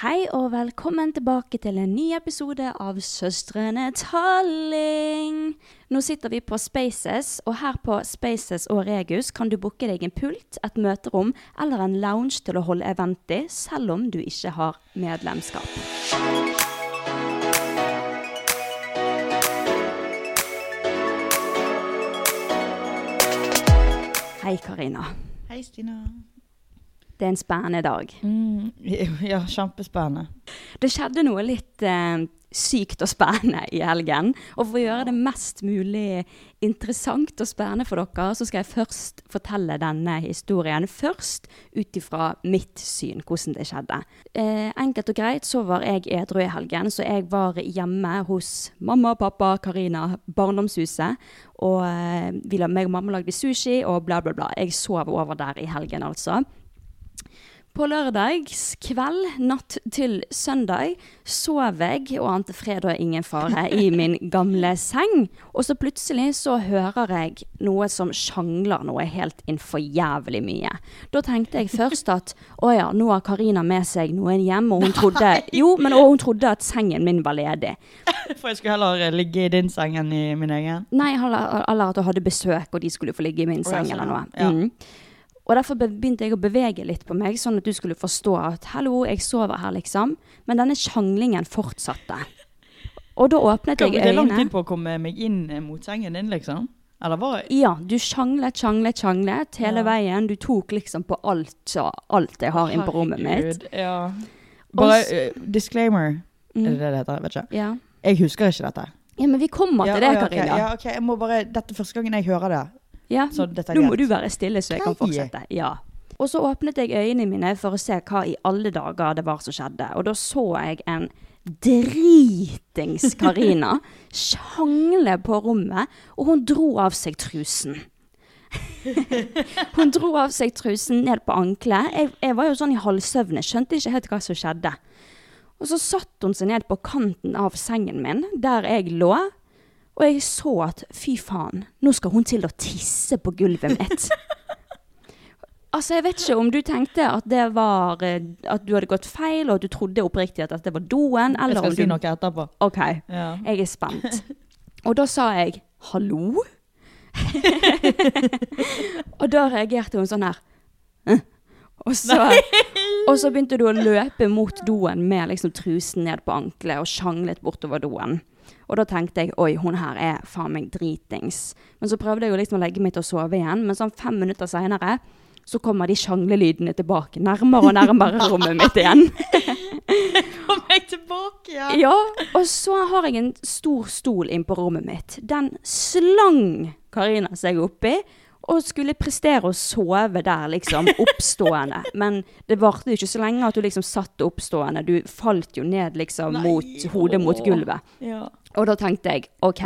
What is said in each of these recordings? Hei og velkommen tilbake til en ny episode av Søstrene Talling. Nå sitter vi på Spaces, og her på Spaces og Regus kan du booke deg en pult, et møterom eller en lounge til å holde event i, selv om du ikke har medlemskap. Hei, Karina. Hei, Stina. Det er en spennende dag. Mm, ja, kjempespennende. Det skjedde noe litt eh, sykt og spennende i helgen. Og for å gjøre det mest mulig interessant og spennende for dere, så skal jeg først fortelle denne historien først ut ifra mitt syn, hvordan det skjedde. Eh, enkelt og greit så var jeg edru i helgen, så jeg var hjemme hos mamma og pappa, Karina, barndomshuset. Og eh, vi, la- meg og mamma lagde sushi og bla, bla, bla. Jeg sov over der i helgen, altså. På lørdags kveld, natt til søndag, sov jeg og ante fred og ingen fare i min gamle seng. Og så plutselig så hører jeg noe som sjangler noe helt innenfor jævlig mye. Da tenkte jeg først at å ja, nå har Karina med seg noen hjem, og hun trodde, jo, men, og hun trodde at sengen min var ledig. For jeg skulle heller eh, ligge i din seng enn i min egen. Nei, eller, eller at jeg hadde besøk, og de skulle få ligge i min Å, seng ja, sånn, eller noe. ja. Mm. Og derfor be- begynte jeg å bevege litt på meg, sånn at du skulle forstå at hallo, jeg sover her, liksom. Men denne sjanglingen fortsatte. Og da åpnet Kom, jeg det er lang tid øynene. på å komme meg inn eh, mot sengen din, liksom. Eller var jeg Ja, du sjanglet, sjanglet, sjanglet hele Ja. veien. Du tok liksom på alt, og alt jeg har inne på rommet mitt. Herregud, Ja. Og Bare s- eh, disclaimer. Er det Mm. det det heter? Jeg vet ikke. Ja. Jeg husker ikke dette. ja, men vi kommer til det, ja, ok, Karina. Ja, ok, jeg må bare, Dette er første gangen jeg hører det. Ja, Så dette er nå må greit. du være stille så jeg kan Nei. fortsette. Ja. Og så åpnet jeg øynene mine for å se hva i alle dager det var som skjedde. Og da så jeg en dritings Karina sjangle på rommet, og hun dro av seg trusen. hun dro av seg trusen ned på ankelet. Jeg, jeg var jo sånn i halvsøvne, skjønte ikke helt hva som skjedde. Og så satt hun seg ned på kanten av sengen min, der jeg lå. Og jeg så at fy faen, nå skal hun til å tisse på gulvet mitt. altså, jeg vet ikke om du tenkte at det var eh, At du hadde gått feil, og at du trodde oppriktig at dette var doen, Jeg eller skal om si du noe etterpå. OK, Ja. jeg er spent. Og da sa jeg 'hallo'. og da reagerte hun sånn her. «Hæ?» Og så, og så begynte du å løpe mot doen med liksom trusen ned på ankelet og sjanglet bortover doen. Og da tenkte jeg oi, hun her er faen meg dritings. Men så prøvde jeg jo liksom å legge meg til å sove igjen, men sånn fem minutter seinere så kommer de sjanglelydene tilbake, nærmere og nærmere rommet mitt igjen. Kom meg tilbake, ja! Ja, og så har jeg en stor stol inn på rommet mitt. Den slang Karina seg oppi, og skulle prestere å sove der, liksom, oppstående. Men det varte jo ikke så lenge at du liksom satt oppstående. Du falt jo ned liksom Nei, mot hodet mot åh. gulvet. ja. Og da tenkte jeg OK,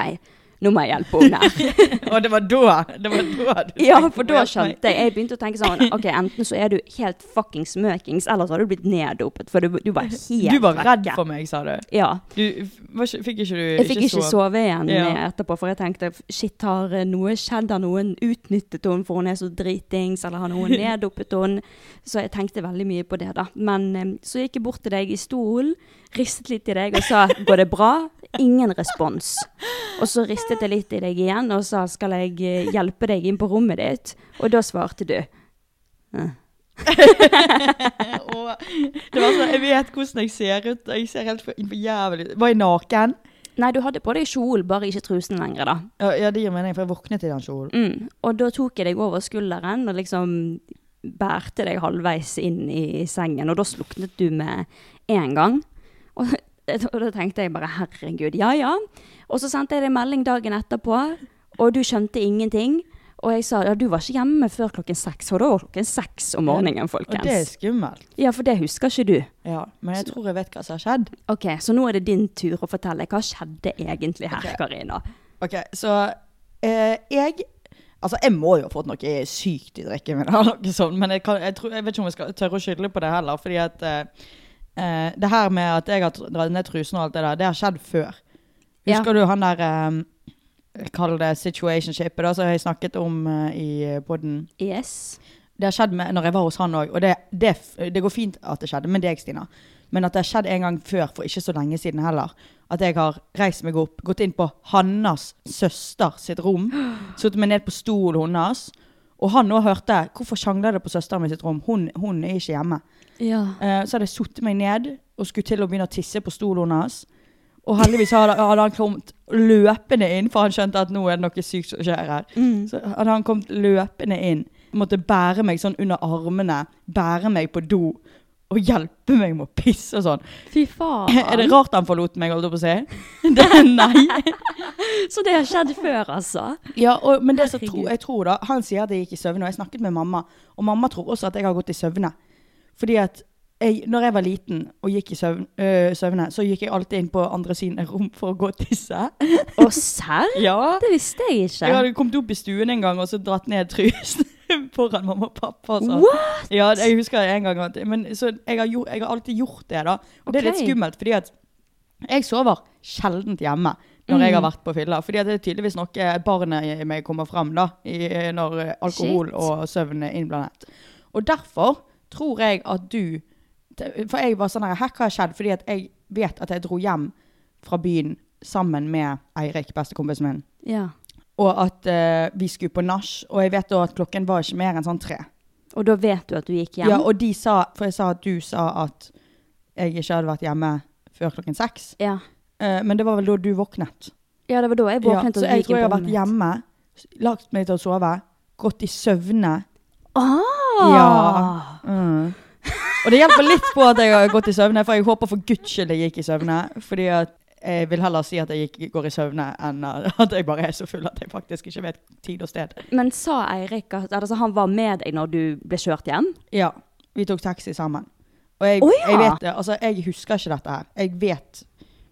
Nå må jeg hjelpe henne her. Og det var da! Det var da du Ja, tenkte for på da hjelp meg. skjønte jeg. Jeg begynte å tenke sånn OK, enten så er du helt fuckings møkings, eller så har du blitt neddopet, for du, du var helt Du var redd vekke. for meg, sa du. Ja. du f- var ikke, fikk ikke du Jeg fikk ikke sove? sove igjen Ja. eh, etterpå, for jeg tenkte shit, har eh, noe skjedd? Har noen utnyttet henne for hun er så dritings, eller har noen neddopet henne? Så jeg tenkte veldig mye på det, da. Men eh, så gikk jeg bort til deg i stolen, ristet litt i deg og sa 'går det bra?' Ingen respons. Og så ristet jeg litt i deg igjen og sa 'skal jeg eh, hjelpe deg inn på rommet ditt?' Og da svarte du. Eh. Åh, det var sånn, jeg vet hvordan jeg ser ut. Jeg ser helt for, for jævlig ut. Var jeg naken? Nei, du hadde på deg kjolen, bare ikke trusen lenger, da. Ja, ja, det gir mening, for jeg våknet i den kjolen. Mm. Og da tok jeg deg over skulderen og liksom bærte deg halvveis inn i sengen, og da sluknet du med en gang. Og, og da tenkte jeg bare herregud, ja ja. Og så sendte jeg deg melding dagen etterpå, og du skjønte ingenting. Og jeg sa ja, du var ikke hjemme før klokken seks, og da var klokken seks om morgenen, Og det er folkens. skummelt. Ja, for det husker ikke du. Ja, men jeg tror jeg vet hva som har skjedd. Ok, så nå er det din tur å fortelle. Hva skjedde egentlig her, Ok. Karina? Ok, så eh, jeg Altså, jeg må jo ha fått noe sykt i drikken min, eller noe sånt, men jeg, kan, jeg, tror, jeg vet ikke om jeg skal tørre å skylde på det heller. Fordi at eh, eh, det her med at jeg har tr- dratt ned trusen og alt det der, det har skjedd før. Ja. Husker du han der eh, Kall det situationshipet, da, som jeg snakket om eh, i poden. Yes. Det har skjedd med, når jeg var hos han òg, og det, det, f- det går fint at det skjedde med deg, Stina. Men at det har skjedd en gang før, for ikke så lenge siden heller. At jeg har reist meg opp, gått inn på Hannas søster sitt rom. Satt meg ned på stolen hennes. Og han òg hørte 'Hvorfor sjangler du på søsteren min sitt rom? Hun, hun er ikke hjemme'. Ja. Eh, så hadde jeg suttet meg ned og skulle til å begynne å tisse på stolen hans. Og heldigvis hadde, hadde han kommet løpende inn, for han skjønte at nå er det noe sykt som skjer her. Så hadde han kommet løpende inn, måtte bære meg sånn under armene, bære meg på do og hjelpe meg med å pisse og sånn. Fy faen. Er det rart han forlot meg, holdt jeg på å si? Det, nei. Så det har skjedd før, altså? Ja, og, men det som Herregud. tro, jeg tror da, han sier at jeg gikk i søvne, og jeg snakket med mamma, og mamma tror også at jeg har gått i søvne. Fordi at jeg, når jeg var liten og gikk i søvn, øh, søvne, så gikk jeg alltid inn på andre siden av rom for å gå og tisse. Å, serr? Ja. Det visste jeg ikke. Jeg hadde kommet opp i stuen en gang og så dratt ned trusen foran mamma og pappa. og sånn. What? Ja, jeg husker en gang. At, men, så jeg, har gjort, jeg har alltid gjort det, da. Og det er litt Ok. skummelt, fordi at jeg sover sjeldent hjemme når jeg Mm. har vært på fylla. Fordi at det er tydeligvis noe barnet i meg kommer fram da, i, når eh, alkohol Shit. og søvn er innblandet. Og derfor tror jeg at du For jeg var sånn her, her hva har skjedd? Fordi at jeg vet at jeg dro hjem fra byen sammen med Eirik, bestekompisen min. Ja. Og at eh, vi skulle på nach, og jeg vet da at klokken var ikke mer enn sånn tre. Og da vet du at du gikk hjem? Ja, og de sa, for jeg sa at du sa at jeg ikke hadde vært hjemme før klokken seks. ja. Eh, men det var vel da du våknet. ja, det var da jeg Ja, våknet så og jeg gikk tror inn jeg har på vært rommet. hjemme, lagt meg til å sove, gått i søvne. Ah! Ja. Mm. Og det hjelper litt på at jeg har gått i søvne, for jeg håper for guds skyld jeg gikk i søvne. Fordi at jeg vil heller si at jeg gikk, går i søvne enn at jeg bare er så full at jeg faktisk ikke vet tid og sted. Men sa Eirik at altså, han var med deg når du ble kjørt hjem? Ja, vi tok taxi sammen. Og jeg, Å, ja! jeg vet det. Altså, jeg husker ikke dette her. Jeg vet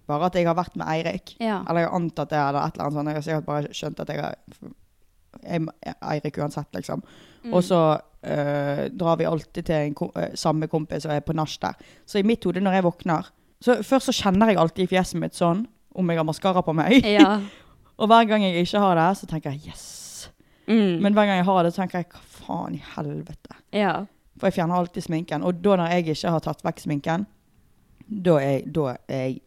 bare at jeg har vært med Eirik. Ja. Eller jeg har antatt det, eller et eller annet sånt. Jeg har sikkert bare skjønt at jeg har jeg er Eirik uansett, liksom. Mm. Og så øh, drar vi alltid til en ko øh, samme kompis og er på nach der. Så i mitt hode, når jeg våkner så Først så kjenner jeg alltid i fjeset mitt sånn om jeg har maskara på meg. Ja. og hver gang jeg ikke har det, så tenker jeg 'yes'. Mm. Men hver gang jeg har det, så tenker jeg 'hva faen i helvete'. ja. For jeg fjerner alltid sminken. Og da når jeg ikke har tatt vekk sminken, da er, jeg- da er jeg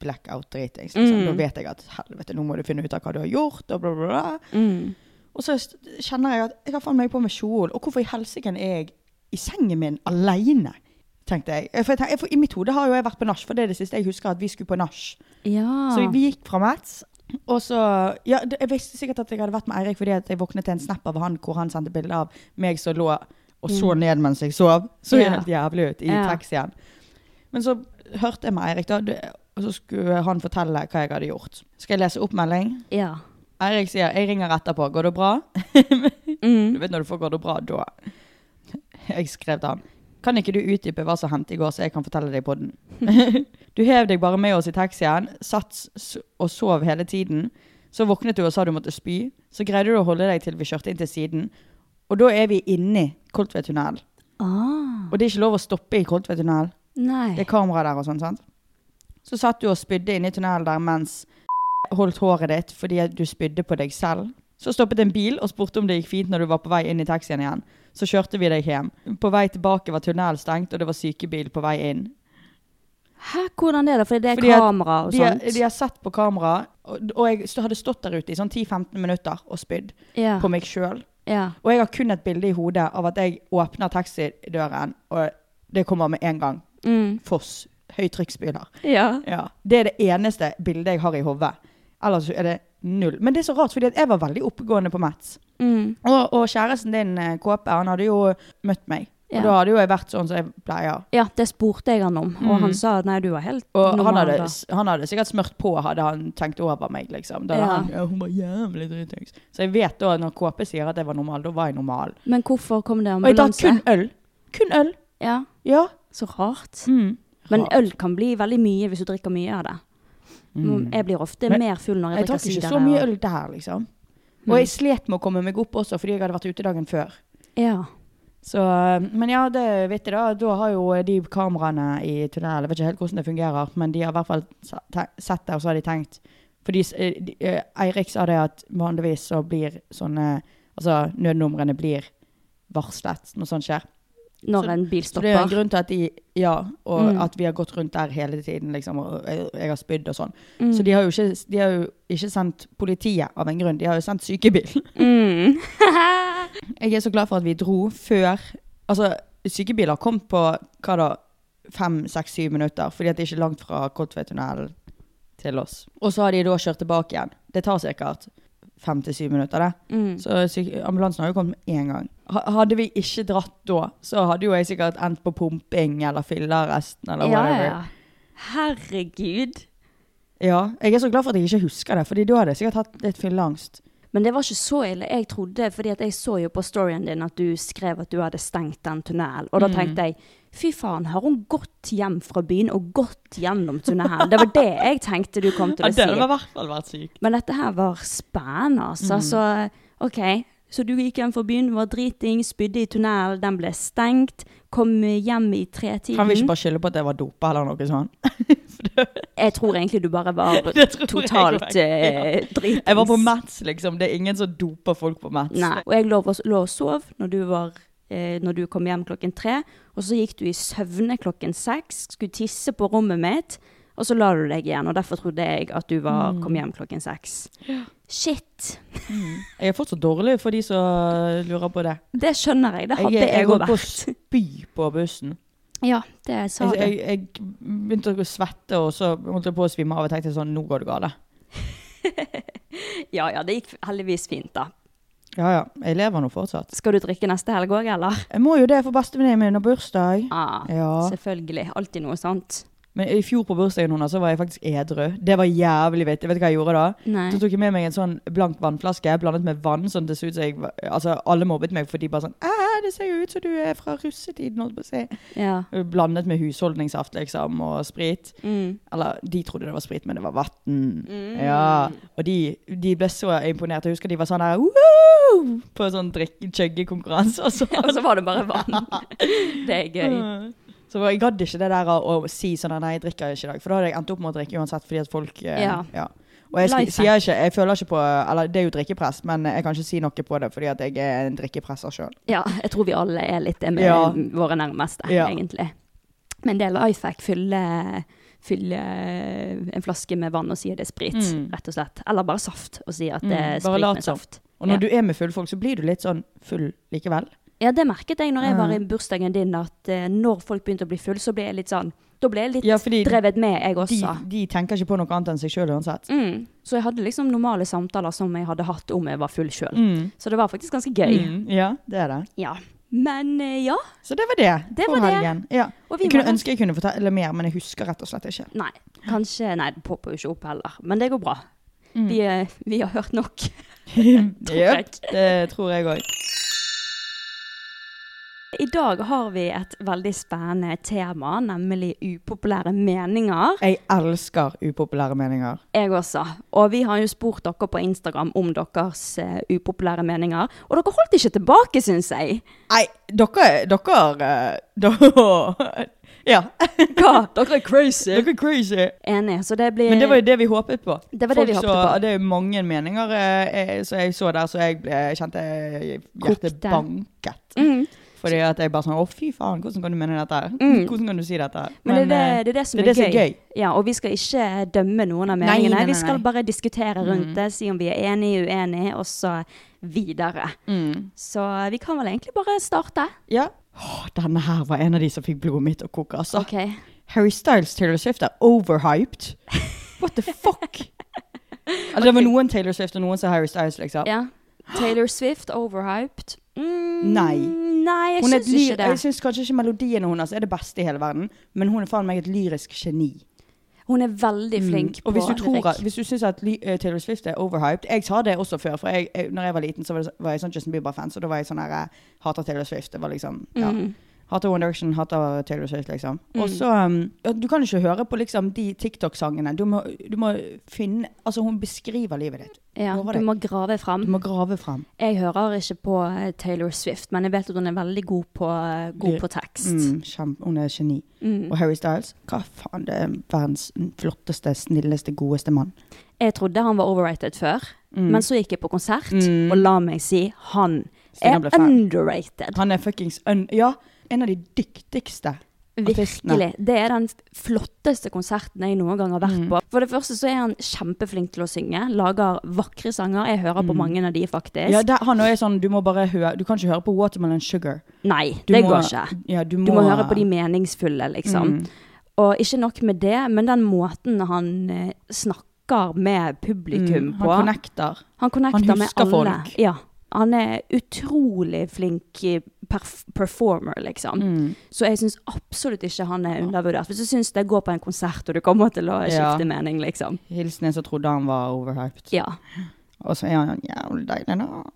blackout dritings. Liksom. Mm. Da vet jeg at helvete, nå må du finne ut av hva du har gjort, og bla, bla, bla. Mm. Og så st- kjenner jeg at jeg har faen meg på meg kjol, og hvorfor i helsike er jeg i sengen min aleine? Tenkte jeg. For, jeg tenk- for I mitt hode har jo jeg vært på nach, for det er det siste jeg husker at vi skulle på nach. ja. Så vi gikk fra Mats, og så ja, det- Jeg visste sikkert at jeg hadde vært med Eirik fordi at jeg våknet til en snap av han hvor han sendte bilde av meg som lå og så ned mens jeg sov. Så Mm. Ja. helt jævlig ut i Ja. taxien. Men så hørte jeg med Eirik, da, det- og så skulle han fortelle hva jeg hadde gjort. Skal jeg lese opp melding? Ja. Eirik sier 'jeg ringer etterpå', går det bra? Mm. Du vet når du får 'går det bra', da. Jeg skrev til ham. Kan ikke du utdype hva som hendte i går, så jeg kan fortelle deg på den? Du hev deg bare med oss i taxien, satt s- og sov hele tiden. Så våknet du og sa du måtte spy. Så greide du å holde deg til vi kjørte inn til siden. Og da er vi inni Koldtvedtunnelen. Ah, Og det er ikke lov å stoppe i Koldtvedtunnelen. Det nei. er kamera der og sånn, sant? Så satt du og spydde inne i tunnelen der mens holdt håret ditt fordi at du spydde på deg selv. Så stoppet en bil og spurte om det gikk fint når du var på vei inn i taxien igjen. Så kjørte vi deg hjem. På vei tilbake var tunnelen stengt, og det var sykebil på vei inn. Hæ, hvordan er det? Fordi det er Fordi at kamera og De har, sånt. de har sett på kamera, og, og jeg st- hadde stått der ute i sånn 10-15 minutter og spydd ja. på meg sjøl. ja. Og jeg har kun et bilde i hodet av at jeg åpner taxidøren, og det kommer med en gang. Mm. Foss. Høytrykksspyler. ja. Ja. Det er det eneste bildet jeg har i hodet. Ellers er det null. Men det er så rart, fordi at jeg var veldig oppegående på Mats. Mm. Og, og kjæresten din, eh, Kåpe, han hadde jo møtt meg. Ja. Og da hadde jo jeg vært sånn som jeg pleier. ja, det spurte jeg han om, og Mm. han sa at nei, du var helt Og han normal hadde, da. han hadde sikkert smørt på, hadde han tenkt over meg, liksom. Da Ja. hadde han, ja, hun var jævlig dritings. Så jeg vet da, når Kåpe sier at jeg var normal, da var jeg normal. Men hvorfor kom det Og jeg tar ambulanse? kun øl. Kun øl. Ja, Ja. så rart. Mm. Men Rart. øl kan bli veldig mye hvis du drikker mye av det. Mm. Jeg blir ofte Men- mer full når jeg, Jeg drakk drikker ikke sider. så mye øl der, liksom. Mm. Og jeg slet med å komme meg opp også, fordi jeg hadde vært ute dagen før. Ja. Så, men ja, det vet jeg da. Da har jo de kameraene i tunnelen, jeg vet ikke helt hvordan det fungerer, men de har i hvert fall sa- te- sett det, og så har de tenkt. Fordi s- eh, de- eh, Eirik sa det at vanligvis så blir sånne, altså nødnumrene blir varslet når sånt skjer. Når Så- en bil Så det er en stopper. grunn til at de, ja, og Mm. at vi har gått rundt der hele tiden, liksom, og jeg, jeg har spydd og sånn. Mm. Så de har, jo ikke, de har jo ikke sendt politiet av en grunn, de har jo sendt sykebil. Mm. Jeg er så glad for at vi dro før Altså, sykebiler kom på hva da? Fem, seks, syv minutter. Fordi at det er ikke langt fra Kolltvedtunnelen til oss. Og så har de da kjørt tilbake igjen. Det tar sikkert fem til syv minutter, det. Mm. Så syke, ambulansen har jo kommet med én gang. Ha- Hadde vi ikke dratt da, så hadde jo jeg sikkert endt på pumping eller fyllearresten eller Ja, whatever. ja. Herregud. ja. Jeg er så glad for at jeg ikke husker det, Fordi da hadde jeg sikkert hatt litt fylleangst. Men det var ikke så ille. Jeg trodde, fordi at jeg så jo på storyen din at du skrev at du hadde stengt den tunnelen. Og da Mm. tenkte jeg fy faen, har hun gått hjem fra byen og gått gjennom tunnelen? Det var det jeg tenkte du kom til å si. i hvert fall vært syk. Men dette her var spennende, altså. Mm. Så OK. Så du gikk hjem fra byen, var driting, spydde i tunnelen, den ble stengt. Kom hjem i tretiden. Kan vi ikke bare skylde på at jeg var dopa eller noe sånt? Jeg tror egentlig du bare var Det tror jeg totalt også, ja. eh, dritings. Jeg var på Mats, liksom. Det er ingen som doper folk på Mats. Nei. Og jeg lå, og- lå og sov når du, var, eh, når du kom hjem klokken tre. Og så gikk du i søvne klokken seks, skulle tisse på rommet mitt. Og så la du deg igjen, og derfor trodde jeg at du var, Mm. kom hjem klokken seks. Shit! Jeg er fortsatt dårlig for de som lurer på det. Det skjønner jeg. Det Jeg, hadde jeg, jeg òg holdt på å vært. spy på bussen. Ja, det sa Jeg, jeg, du. jeg begynte å svette, og så holdt jeg på å svime av. og tenkte sånn, nå går det galt. Ja ja, det gikk heldigvis fint, da. Ja ja, jeg lever nå fortsatt. Skal du drikke neste helg òg, eller? Jeg må jo det for bestevenninnen min har bursdag. Ah, Ja. Selvfølgelig. Alltid noe sant. Men i fjor på bursdagen hennes så var jeg faktisk edru. Det var jævlig vittig. Vet du hva jeg gjorde da? Nei. Så tok jeg med meg en sånn blank vannflaske blandet med vann. sånn det så ut som jeg var- Altså, alle mobbet meg, for de bare sånn Æ, det ser jo ut som du er fra russetiden, holdt på å si. Ja. Blandet med husholdningssaft, liksom, og sprit. Mm. Eller de trodde det var sprit, men det var vann. Ja. Og de, de ble så imponert. Jeg husker de var sånn der Woo! På sånn drikke-chugge-konkurranse. Og sånn. så, Og så var det bare vann. Det er gøy. så jeg gadd ikke det der å, å si sånn nei, jeg drikker ikke i dag. For da hadde jeg endt opp med å drikke uansett, fordi at folk eh, Ja. Og jeg, sk- Lifehack. sier ikke, jeg føler ikke på Eller det er jo drikkepress, men jeg kan ikke si noe på det, fordi at jeg er en drikkepresser sjøl. Ja, jeg tror vi alle er litt det med Ja. våre nærmeste, Ja. egentlig. Men det er life hack. Fylle, fylle en flaske med vann og si det er sprit, Mm. rett og slett. Eller bare saft, og si at det Mm, bare er sprit lat med som. saft. Og Ja. når du er med fulle folk, så blir du litt sånn full likevel. Ja, det merket jeg når jeg Ja. var i bursdagen din, at eh, når folk begynte å bli full, så ble jeg litt sånn Da ble jeg litt Ja, fordi drevet med, jeg de, også. de tenker ikke på noe annet enn seg sjøl uansett. Mm. Så jeg hadde liksom normale samtaler som jeg hadde hatt om jeg var full sjøl. Mm. Så det var faktisk ganske gøy. Mm, ja, det er det. Ja. Men eh, ja. Så det var det. Det for var det. helgen. Ja. Og vi Jeg kunne var- ønske jeg kunne fortelle mer, men jeg husker rett og slett ikke. Nei, kanskje Nei, det popper jo ikke opp heller. Men det går bra. Mm. Vi, eh, vi har hørt nok. Jøp, det tror jeg òg. I dag har vi et veldig spennende tema, nemlig upopulære meninger. Jeg elsker upopulære meninger. Jeg også. Og vi har jo spurt dere på Instagram om deres eh, upopulære meninger. Og dere holdt ikke tilbake, syns jeg. Nei, dere Dere eh, da- Ja. Hva? Dere er crazy. Dere er crazy. Enig. Så det blir Men det var jo det vi håpet på. Det var det vi Folk håpet så, på. Det er jo mange meninger eh, eh, som jeg så der, så jeg ble, kjente hjertet Kokte. banket. Mm. Fordi at jeg bare sånn Å, fy faen, hvordan kan du mene dette her? Mm. Hvordan kan du si dette her? Men, det, er eh, det, det er det som det er, er det som er gøy. Ja, Og vi skal ikke dømme noen av Nei, meningene. nei, nei, vi skal nei. Mm. bare diskutere rundt det, si om vi er enige, uenige, og så videre. Mm. Så eh, vi kan vel egentlig bare starte. Ja. Åh, denne her var en av de som fikk blodet mitt å koke, altså. OK. Harry Styles Taylor Swift er overhyped. What the fuck? altså, det var noen Taylor Swift og noen som er Harry Styles, liksom. Ja. Taylor Swift, overhyped. Mm, Nei. Nei, jeg Hun er syns et ly- ikke det. jeg syns kanskje ikke melodiene hennes er det beste i hele verden, men hun er faen meg et lyrisk geni. Hun er veldig flink Mm. Og på hvis du, tror at, lyrikk. hvis du syns at Ly- eh, Taylor Swift er overhyped Jeg sa det også før, for jeg, jeg, når jeg var liten, så var, det, så- var jeg sånn Justin Bieber-fan, så da var jeg sånn her eh, Hater Taylor Swift. Det var liksom ja. Mm. Hater One Direction, hater Taylor Swift, liksom. Mm. Og så um, ja, Du kan ikke høre på liksom de TikTok-sangene. Du, må- du må finne Altså, hun beskriver livet ditt. Ja, Lover du deg. må grave fram. Du må grave frem. Jeg hører ikke på eh, Taylor Swift, men jeg vet at hun er veldig god på, eh, god Lyr- på tekst. Mm, kjempe, hun er et geni. Mm. Og Harry Styles, hva faen, det er verdens flotteste, snilleste, godeste mann. Jeg trodde han var overrated før, Mm. men så gikk jeg på konsert, Mm. og la meg si han Siden er han ble fan. underrated. Han er fuckings un... Ja, en av de dyktigste. artistene. Virkelig. Det er den flotteste konserten jeg noen gang har vært Mm. på. For det første så er han kjempeflink til å synge, lager vakre sanger. Jeg hører på mange av de, faktisk. Mm. Ja, der, han er sånn, du må bare høre Du kan ikke høre på Watermelon Sugar. Nei, Du det må, går ikke. Ja, du, må, Mm. Du må høre på de meningsfulle, liksom. Og ikke nok med det, men den måten han eh, snakker med publikum Mm, på Han connecter. Han connecter Han med husker alle. folk. Ja. Han er utrolig flink eh, perf performer, liksom. Mm. Så jeg syns absolutt ikke han er undervurdert. Hvis du syns det går på en konsert, og du kommer til å Ja. skifte mening, liksom. Hilsen en som trodde han var overhyped. Ja. Og så er han jævlig deilig nå.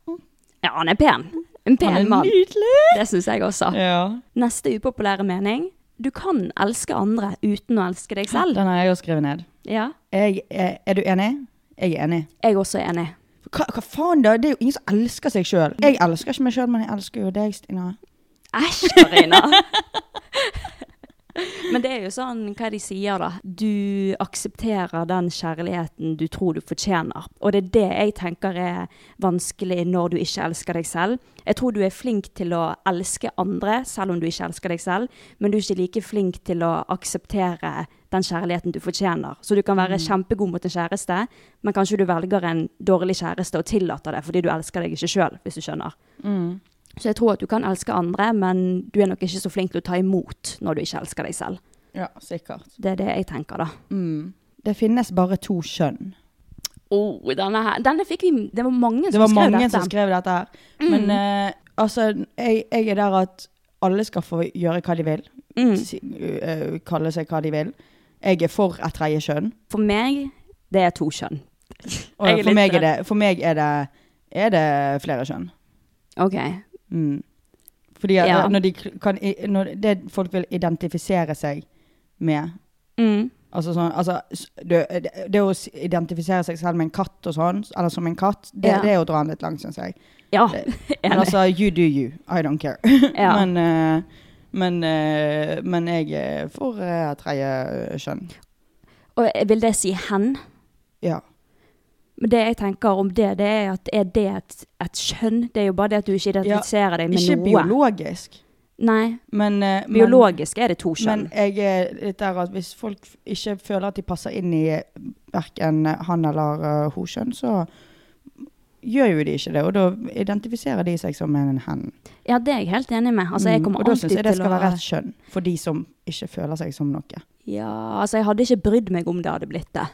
ja, han er pen. En Han er pen mann. nydelig! Det syns jeg også. Ja. Neste upopulære mening. Du kan elske andre uten å elske deg selv. Den har jeg jo skrevet ned. Ja. Jeg, er, er du enig? Jeg er enig. Jeg også er enig. Hva, hva faen, da? Det er jo ingen som elsker seg sjøl. Jeg elsker ikke meg sjøl, men jeg elsker jo deg, Stina. Æsj, Karina! Men det er jo sånn, hva de sier da? Du aksepterer den kjærligheten du tror du fortjener. Og det er det jeg tenker er vanskelig når du ikke elsker deg selv. Jeg tror du er flink til å elske andre, selv om du ikke elsker deg selv. Men du er ikke like flink til å akseptere den kjærligheten du fortjener. Så du kan være kjempegod mot en kjæreste, men kanskje du velger en dårlig kjæreste og tillater det fordi du elsker deg ikke sjøl, hvis du skjønner. Så jeg tror at du kan elske andre, men du er nok ikke så flink til å ta imot når du ikke elsker deg selv. Ja, sikkert. Det er det jeg tenker, da. Mm. Det finnes bare to kjønn. Oh, denne her, denne fikk vi Det var mange Det som var skrev mange dette. som skrev dette her. Mm. Men eh, altså, jeg, jeg er der at alle skal få gjøre hva de vil. Mm. Si, eh, kalle seg hva de vil. Jeg er for et tredje kjønn. For meg, det er to kjønn. Og Jeg er litt for meg, redd. er det, for meg er, det, er det flere kjønn. OK. Mm. Fordi at eh, Ja. når de kl- kan, i- når det folk vil identifisere seg med Mm. Altså sånn, altså, s- det, det- det å s- identifisere seg selv med en katt og sånn, eller som en katt, det, Ja. det er å dra den litt langt, syns jeg. Ja. Men enig. altså, you do you. I don't care. Eh, Ja. Men, eh, men, eh, men jeg er for eh, tredje kjønn. Og vil det si hen? Ja. Men det jeg tenker om det, det er at er det et, et kjønn? Det er jo bare det at du ikke identifiserer deg med Ikke noe. biologisk, Nei. men eh, men- Biologisk er det to kjønn. Men jeg er litt der at hvis folk f- ikke føler at de passer inn i verken han eller uh, hun kjønn, så gjør jo de ikke det. Og da identifiserer de seg som en hen. ja, det er jeg helt enig med. Altså, jeg Mm, kommer og da alltid syns jeg til det skal å være et kjønn for de som ikke føler seg som noe. Ja, altså, jeg hadde ikke brydd meg om det hadde blitt det.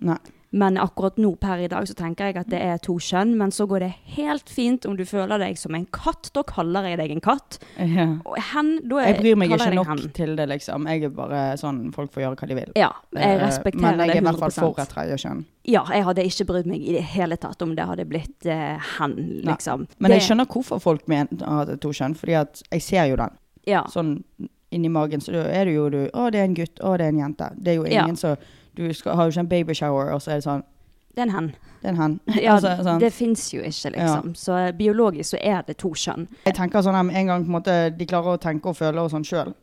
Nei. Men akkurat nå per i dag så tenker jeg at det er to kjønn, men så går det helt fint om du føler deg som en katt. Da kaller jeg deg en katt. Ja. Og hen, da Jeg bryr meg kaller jeg ikke deg nok hen. til det, liksom. Jeg er bare sånn folk får gjøre hva de vil. Ja, jeg Eh, respekterer Men jeg er det i hvert fall for 100 et tredje kjønn. Ja, jeg hadde ikke brydd meg i det hele tatt om det hadde blitt eh, hen, Nei. liksom. Men jeg Det- skjønner hvorfor folk mener at det er to kjønn, fordi at jeg ser jo den. ja. Sånn inni magen, så er det jo du Å, det er en gutt. Å, det er en jente. Det er jo Ja. ingen som Du skal, har jo ikke en babyshower, og så er det sånn Det er en hen. Det er en hen. Ja, altså, sånn. Det fins jo ikke, liksom. Så eh, biologisk så er det to kjønn. Jeg tenker sånn her, med en gang på en måte de klarer å tenke og føle og sånn sjøl,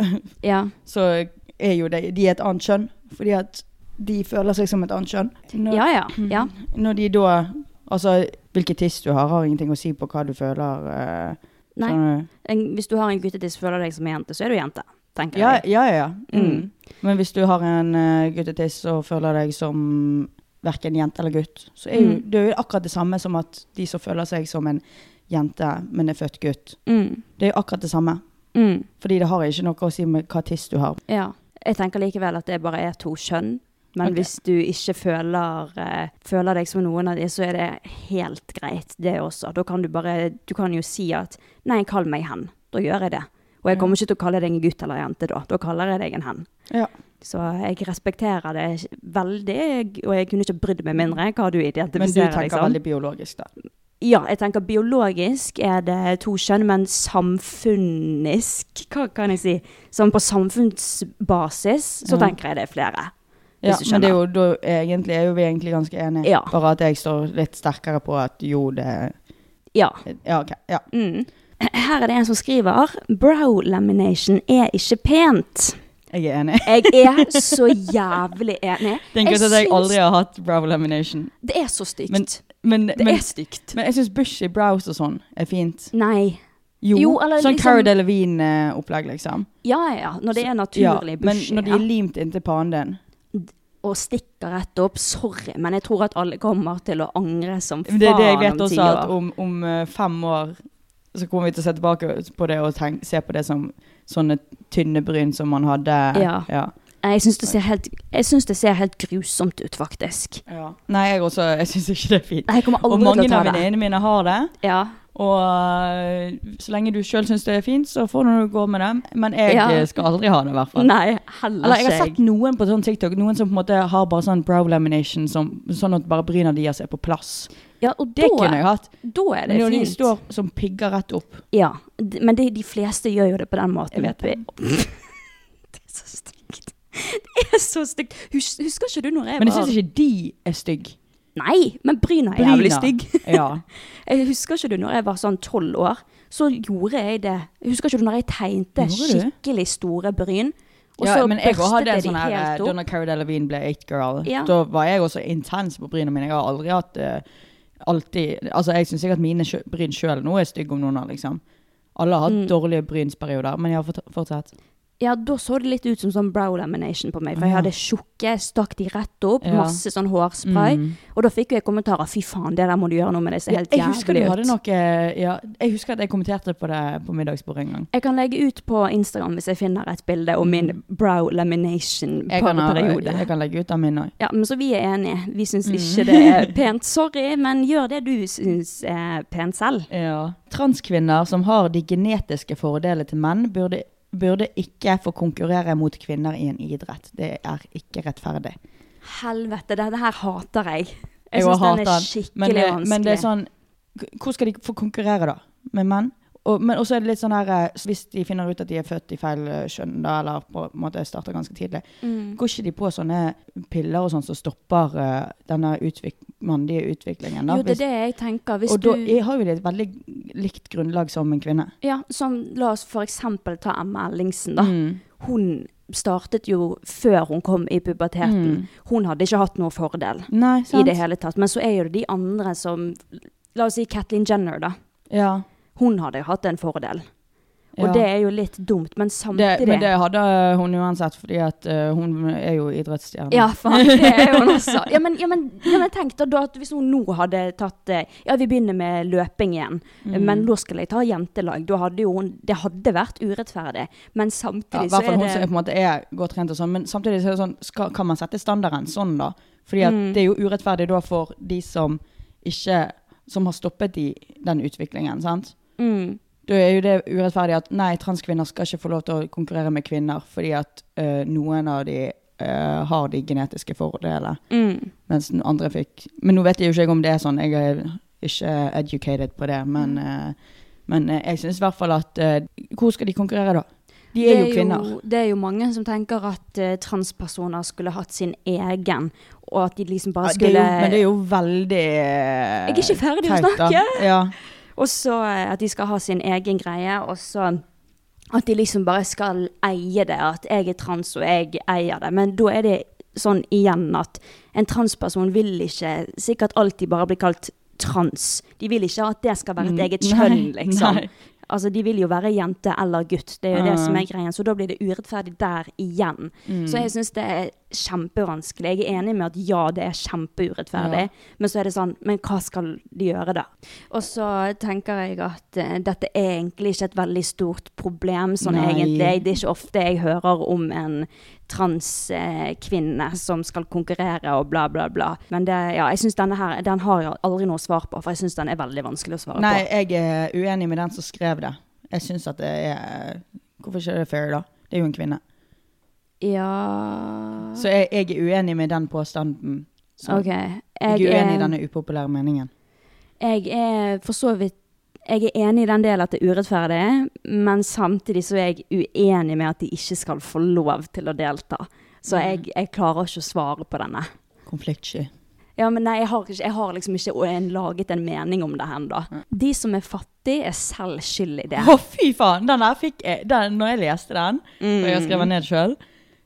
Ja. så er jo det, de er et annet kjønn. Fordi at de føler seg som et annet kjønn. Når, ja, ja. ja. når de da Altså, hvilket tiss du har, har ingenting å si på hva du føler. eh, Nei. skjønner du? En, hvis du har en guttetiss og føler deg som en jente, så er du jente, tenker Ja, jeg. ja, ja. ja. Mm. Mm. Men hvis du har en eh, guttetiss og føler deg som verken jente eller gutt, så er jo, Mm. det er jo akkurat det samme som at de som føler seg som en jente, men er født gutt. Mm. Det er jo akkurat det samme. Mm. Fordi det har ikke noe å si med hva tiss du har. Ja. Jeg tenker likevel at det bare er to kjønn. Men Ok. hvis du ikke føler, eh, føler deg som noen av de, så er det helt greit, det også. Da kan du bare Du kan jo si at 'nei, kall meg hen'. Da gjør jeg det. Og jeg kommer ikke til å kalle deg en gutt eller en jente da. Da kaller jeg deg en hen. Mm. Ja. Så jeg respekterer det veldig, og jeg kunne ikke brydd meg mindre hva du Men du identifiserer tenker deg som. veldig biologisk, da. Ja, jeg tenker biologisk er det to kjønn, men samfunnisk, hva kan jeg si? Sånn på samfunnsbasis, så Ja. tenker jeg det er flere. Ja, Hvis du men det er jo, skjønner. da, egentlig er jo vi egentlig ganske enige. Ja. Bare at jeg står litt sterkere på at jo, det Ja. Ja, OK. Ja. Mm. Her er det en som skriver Brow lamination er ikke pent. Jeg er enig. Jeg er så jævlig enig. Det er en grunn til at jeg syns aldri har hatt brow lamination. Det er så stygt. Men- Men, det men, er stygt. men jeg syns bushy brows og sånn er fint. Nei. Jo, Jo, eller sånn liksom- Cara Delevingne-opplegg, liksom. Ja, ja, ja. Når det er Ja, naturlig men bushy. når de ja. er limt inntil pannen din og stikker rett opp. Sorry, men jeg tror at alle kommer til å angre som faen Det er det jeg vet om ti også, at år. om, om eh, fem år så kommer vi til å se tilbake på det og tenk, se på det som sånne tynne bryn som man hadde. Ja. ja. Jeg syns det, ser helt- jeg syns det ser helt grusomt ut, faktisk. Nei, jeg også, jeg syns ikke det er fint. Nei, Jeg kommer Og aldri mange til å av ta det. venninnene mine har det. Ja. Og øh, så lenge du sjøl syns det er fint, så får du nå gå med det. Men jeg Ja. eh, skal aldri ha det, i hvert fall. Nei, heller Eller jeg ikke har sett noen på sånn TikTok, noen som på en måte har bare sånn brow lamination, som, sånn at bare bryna deres er på plass. Ja, og Det da, kunne jeg hatt. da er det Men når de fint. står som pigger rett opp. Ja, d- men det, de fleste gjør jo det på den måten. Jeg vet Vi- det er så stygt. Det er så stygt. Hus, husker ikke du når jeg Men jeg var syns ikke de er stygge. Nei, men bryna er jævlig stygg. ja. Jeg husker ikke du når jeg var sånn tolv år, så gjorde jeg det. Jeg husker ikke du når jeg tegnte Gjorde du? skikkelig store bryn, og ja, så men jeg også børstet hadde en jeg de sånn her eh, helt opp. Donna Cara Delevingne ble it girl. Ja. Da var jeg også intens på bryna mine. Jeg har aldri hatt eh, alltid Altså, jeg syns sikkert mine sjø- bryn sjøl nå er stygge om noen år, liksom. Alle har hatt Mm. dårlige brynsperioder, men jeg har fort- fortsatt. Ja, da så det litt ut som sånn brow lamination på meg, for jeg Ja. hadde tjukke, stakk de rett opp, Ja. masse sånn Mm. hårspray, og da fikk jo jeg kommentarer, fy faen, det der må du gjøre noe med det, ser helt jeg husker du jævlig hadde ut. noe ja, Jeg husker at jeg kommenterte på det på middagsbordet en gang. Jeg kan legge ut på Instagram hvis jeg finner et bilde om min brow lamination Jeg kan, ha- periode. jeg Mm. kan legge ut av min òg. Ja, men så vi er enige. Vi syns ikke det er pent. Sorry, men gjør det du syns er pent selv. Ja. Transkvinner som har de genetiske fordelene til menn, burde, burde ikke få konkurrere mot kvinner i en idrett. Det er ikke rettferdig. Helvete, dette her hater jeg. Jeg Jeg syns hater den er den, skikkelig Men, det- vanskelig. men det er sånn k- Hvor skal de få konkurrere, da? Med menn? Og, men også er det litt sånn her eh, Hvis de finner ut at de er født i feil eh, kjønn, da, eller på en måte starter ganske tidlig, Mm. går ikke de på sånne piller og sånn som stopper eh, denne utvik mannlige utviklingen? Da? jo, det Hvis- er det jeg tenker. Hvis og du da er- har jo de et veldig likt grunnlag som en kvinne. Ja, som la oss for eksempel ta Emma Ellingsen, Mm. da. Hun startet jo før hun kom i puberteten. Hun hadde ikke hatt noe fordel Mm. Nei, i sant? det hele tatt. Men så er jo det de andre som La oss si Kathleen Jenner, da. Ja. Hun hadde jo hatt en fordel. Og Ja. det er jo litt dumt, men Det, samtidig men det hadde hun uansett, fordi at eh, hun er jo idrettsstjerne. Ja, faen, det er jo hun også. Ja, men, ja, men, ja, men tenk da, da at hvis hun nå hadde tatt eh, Ja, vi begynner med løping igjen, eh, Mm. men da skal jeg ta jentelag. Da hadde jo hun Det hadde vært urettferdig, men Ja, I samtidig så hvert fall er hun det som er på en måte er godt trent og sånn. Men samtidig så er det sånn, skal, kan man sette standarden sånn, da? Fordi at Mm. det er jo urettferdig da for de som ikke Som har stoppet i den utviklingen, sant? Mm. Da er jo det urettferdig at nei, transkvinner skal ikke få lov til å konkurrere med kvinner fordi at eh, noen av de eh, har de genetiske fordelene, Mm. mens den andre fikk Men nå vet jeg jo ikke jeg om det er sånn, jeg er ikke educated på det, men, Mm. eh, men eh, jeg syns i hvert fall at eh, Hvor skal de konkurrere, da? De er, jo kvinner. det er jo mange som tenker at eh, transpersoner skulle hatt sin egen, og at de liksom bare Ja, det skulle er jo, men det er jo veldig Jeg er ikke ferdig å teit, da. snakke. Ja. Og så eh, at de skal ha sin egen greie, og så at de liksom bare skal eie det. At jeg er trans, og jeg eier det. Men da er det sånn igjen at en transperson vil ikke sikkert alltid bare bli kalt trans. De vil ikke at det skal være et eget kjønn, Mm, Nei, liksom. nei. Altså, De vil jo være jente eller gutt, det er jo det Mm. som er greien. Så da blir det urettferdig der igjen. Så jeg syns det er kjempevanskelig. Jeg er enig med at ja, det er kjempeurettferdig, men så er det sånn Men hva skal de gjøre da? Og så tenker jeg at eh, dette er egentlig ikke et veldig stort problem, sånn Nei. egentlig. Det er ikke ofte jeg hører om en transkvinne eh, kvinne som skal konkurrere og bla, bla, bla. Men det, ja, jeg syns denne her, den har jeg aldri noe svar på, for jeg syns den er veldig vanskelig å svare Nei, på. jeg er uenig med den som skrev det. Jeg syns at det er Hvorfor ikke er det fair, da? Det er jo en kvinne. Ja Så jeg, jeg er uenig med den påstanden. Så OK. Sånn. jeg, Jeg eh, er uenig er- i denne upopulære meningen. Jeg er for så vidt jeg er enig i den delen at det er urettferdig, men samtidig så er jeg uenig med at de ikke skal få lov til å delta. Mm. Så jeg, jeg klarer ikke å svare på denne. Konfliktsky. Ja, men nei, jeg har, ikke, jeg har liksom ikke en, laget en mening om det ennå. Mm. De som er fattige, er selv skyld i det. Å, fy faen! Den der fikk jeg den, Når jeg leste den, og jeg skrev den ned sjøl,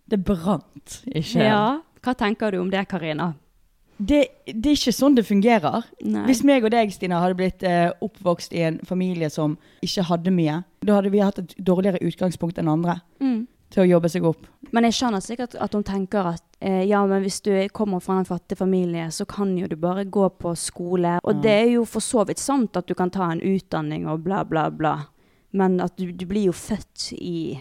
det brant i sjelen. Mm. Ja, Hva tenker du om det, Karina? det, det er ikke sånn det fungerer. Nei. Hvis meg og deg, Stina, hadde blitt eh, oppvokst i en familie som ikke hadde mye, da hadde vi hatt et dårligere utgangspunkt enn andre Mm. til å jobbe seg opp. Men jeg skjønner sikkert at hun tenker at eh, ja, men hvis du kommer fra en fattig familie, så kan jo du bare gå på skole. Og det er jo for så vidt sant at du kan ta en utdanning og bla, bla, bla. Men at du, du blir jo født i,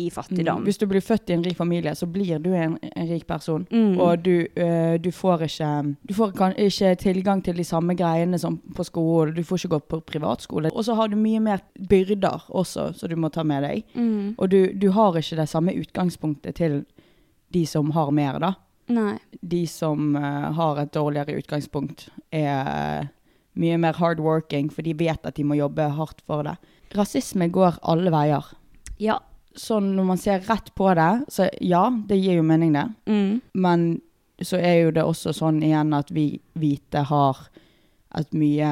i fattigdom. Mm. Hvis du blir født i en rik familie, så blir du en, en rik person. Mm. Og du, eh, du får, ikke, du får kan, ikke tilgang til de samme greiene som på skole. Du får ikke gå på privatskole. Og så har du mye mer byrder også, som du må ta med deg. Mm. Og du, du har ikke det samme utgangspunktet til de som har mer, da. Nei. de som eh, har et dårligere utgangspunkt, er eh, mye mer hardworking, for de vet at de må jobbe hardt for det. Rasisme går alle veier. Ja. Sånn når man ser rett på det, så ja, det gir jo mening, det. Mm. Men så er jo det også sånn igjen at vi hvite har et mye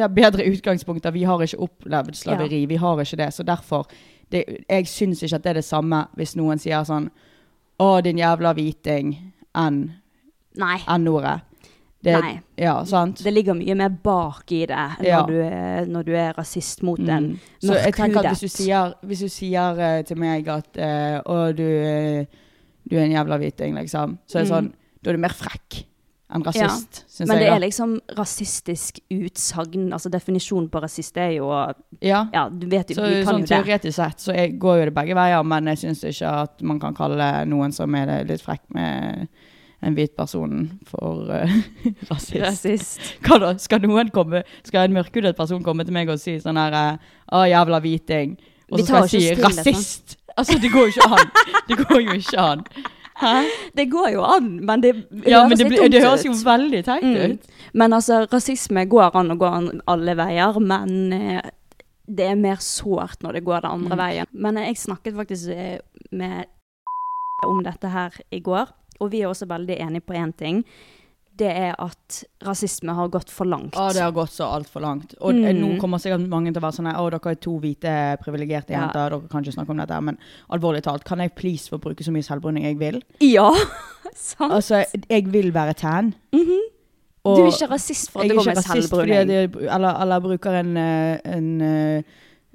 ja, bedre utgangspunkt. da. Vi har ikke opplevd slaveri. Vi har ikke det. Så derfor det, Jeg syns ikke at det er det samme hvis noen sier sånn Å, din jævla hviting. Enn Nei. N-ordet. Det- Nei. Ja, sant? Det ligger mye mer bak i det når, Ja. Mm. du, er, når du er rasist mot en Så jeg tenker mørkhudet. at hvis du sier, hvis du sier eh, til meg at eh, å, du, eh, du er en jævla hviting, liksom, så er det sånn, da er du mer frekk enn rasist, synes syns Mm. Men jeg. det da. er liksom rasistisk utsagn. Altså definisjonen på rasist er jo ja. Ja, du vet jo, Så vi kan sånn, jo det. teoretisk sett så er- går jo det begge veier, men jeg syns ikke at man kan kalle noen som er litt frekk med en hvit person for eh, rasist. Rasist. Hva da? Skal noen komme Skal en mørkhudet person komme til meg og si sånn her eh, Å, jævla hviting. Og Vi så skal tar jeg si jo ikke stillhet, rasist. Altså, det går jo ikke an. Det går jo ikke an. Hæ? Det går jo an, men det Ja, høres men det, litt blir, dumt det høres jo ut. veldig teit Mm. ut. Men altså, rasisme går an og går an alle veier, men eh, det er mer sårt når det går den andre veien. Men eh, jeg snakket faktisk eh, med om dette her i går, og vi er også veldig enige på én ting. Det er at rasisme har gått for langt. Å, det har gått så altfor langt. Og Mm. eh, nå kommer sikkert mange til å være sånn her, Å, dere er to hvite privilegerte Ja. jenter, dere kan ikke snakke om dette. her», Men alvorlig talt, kan jeg please få bruke så mye selvbruning jeg vil? Ja, sant? Altså, jeg vil være tan. Mhm. du er ikke rasist for at Jeg det er går ikke med rasist fordi selvbruning. jeg, eller, eller bruker en, eh, en eh,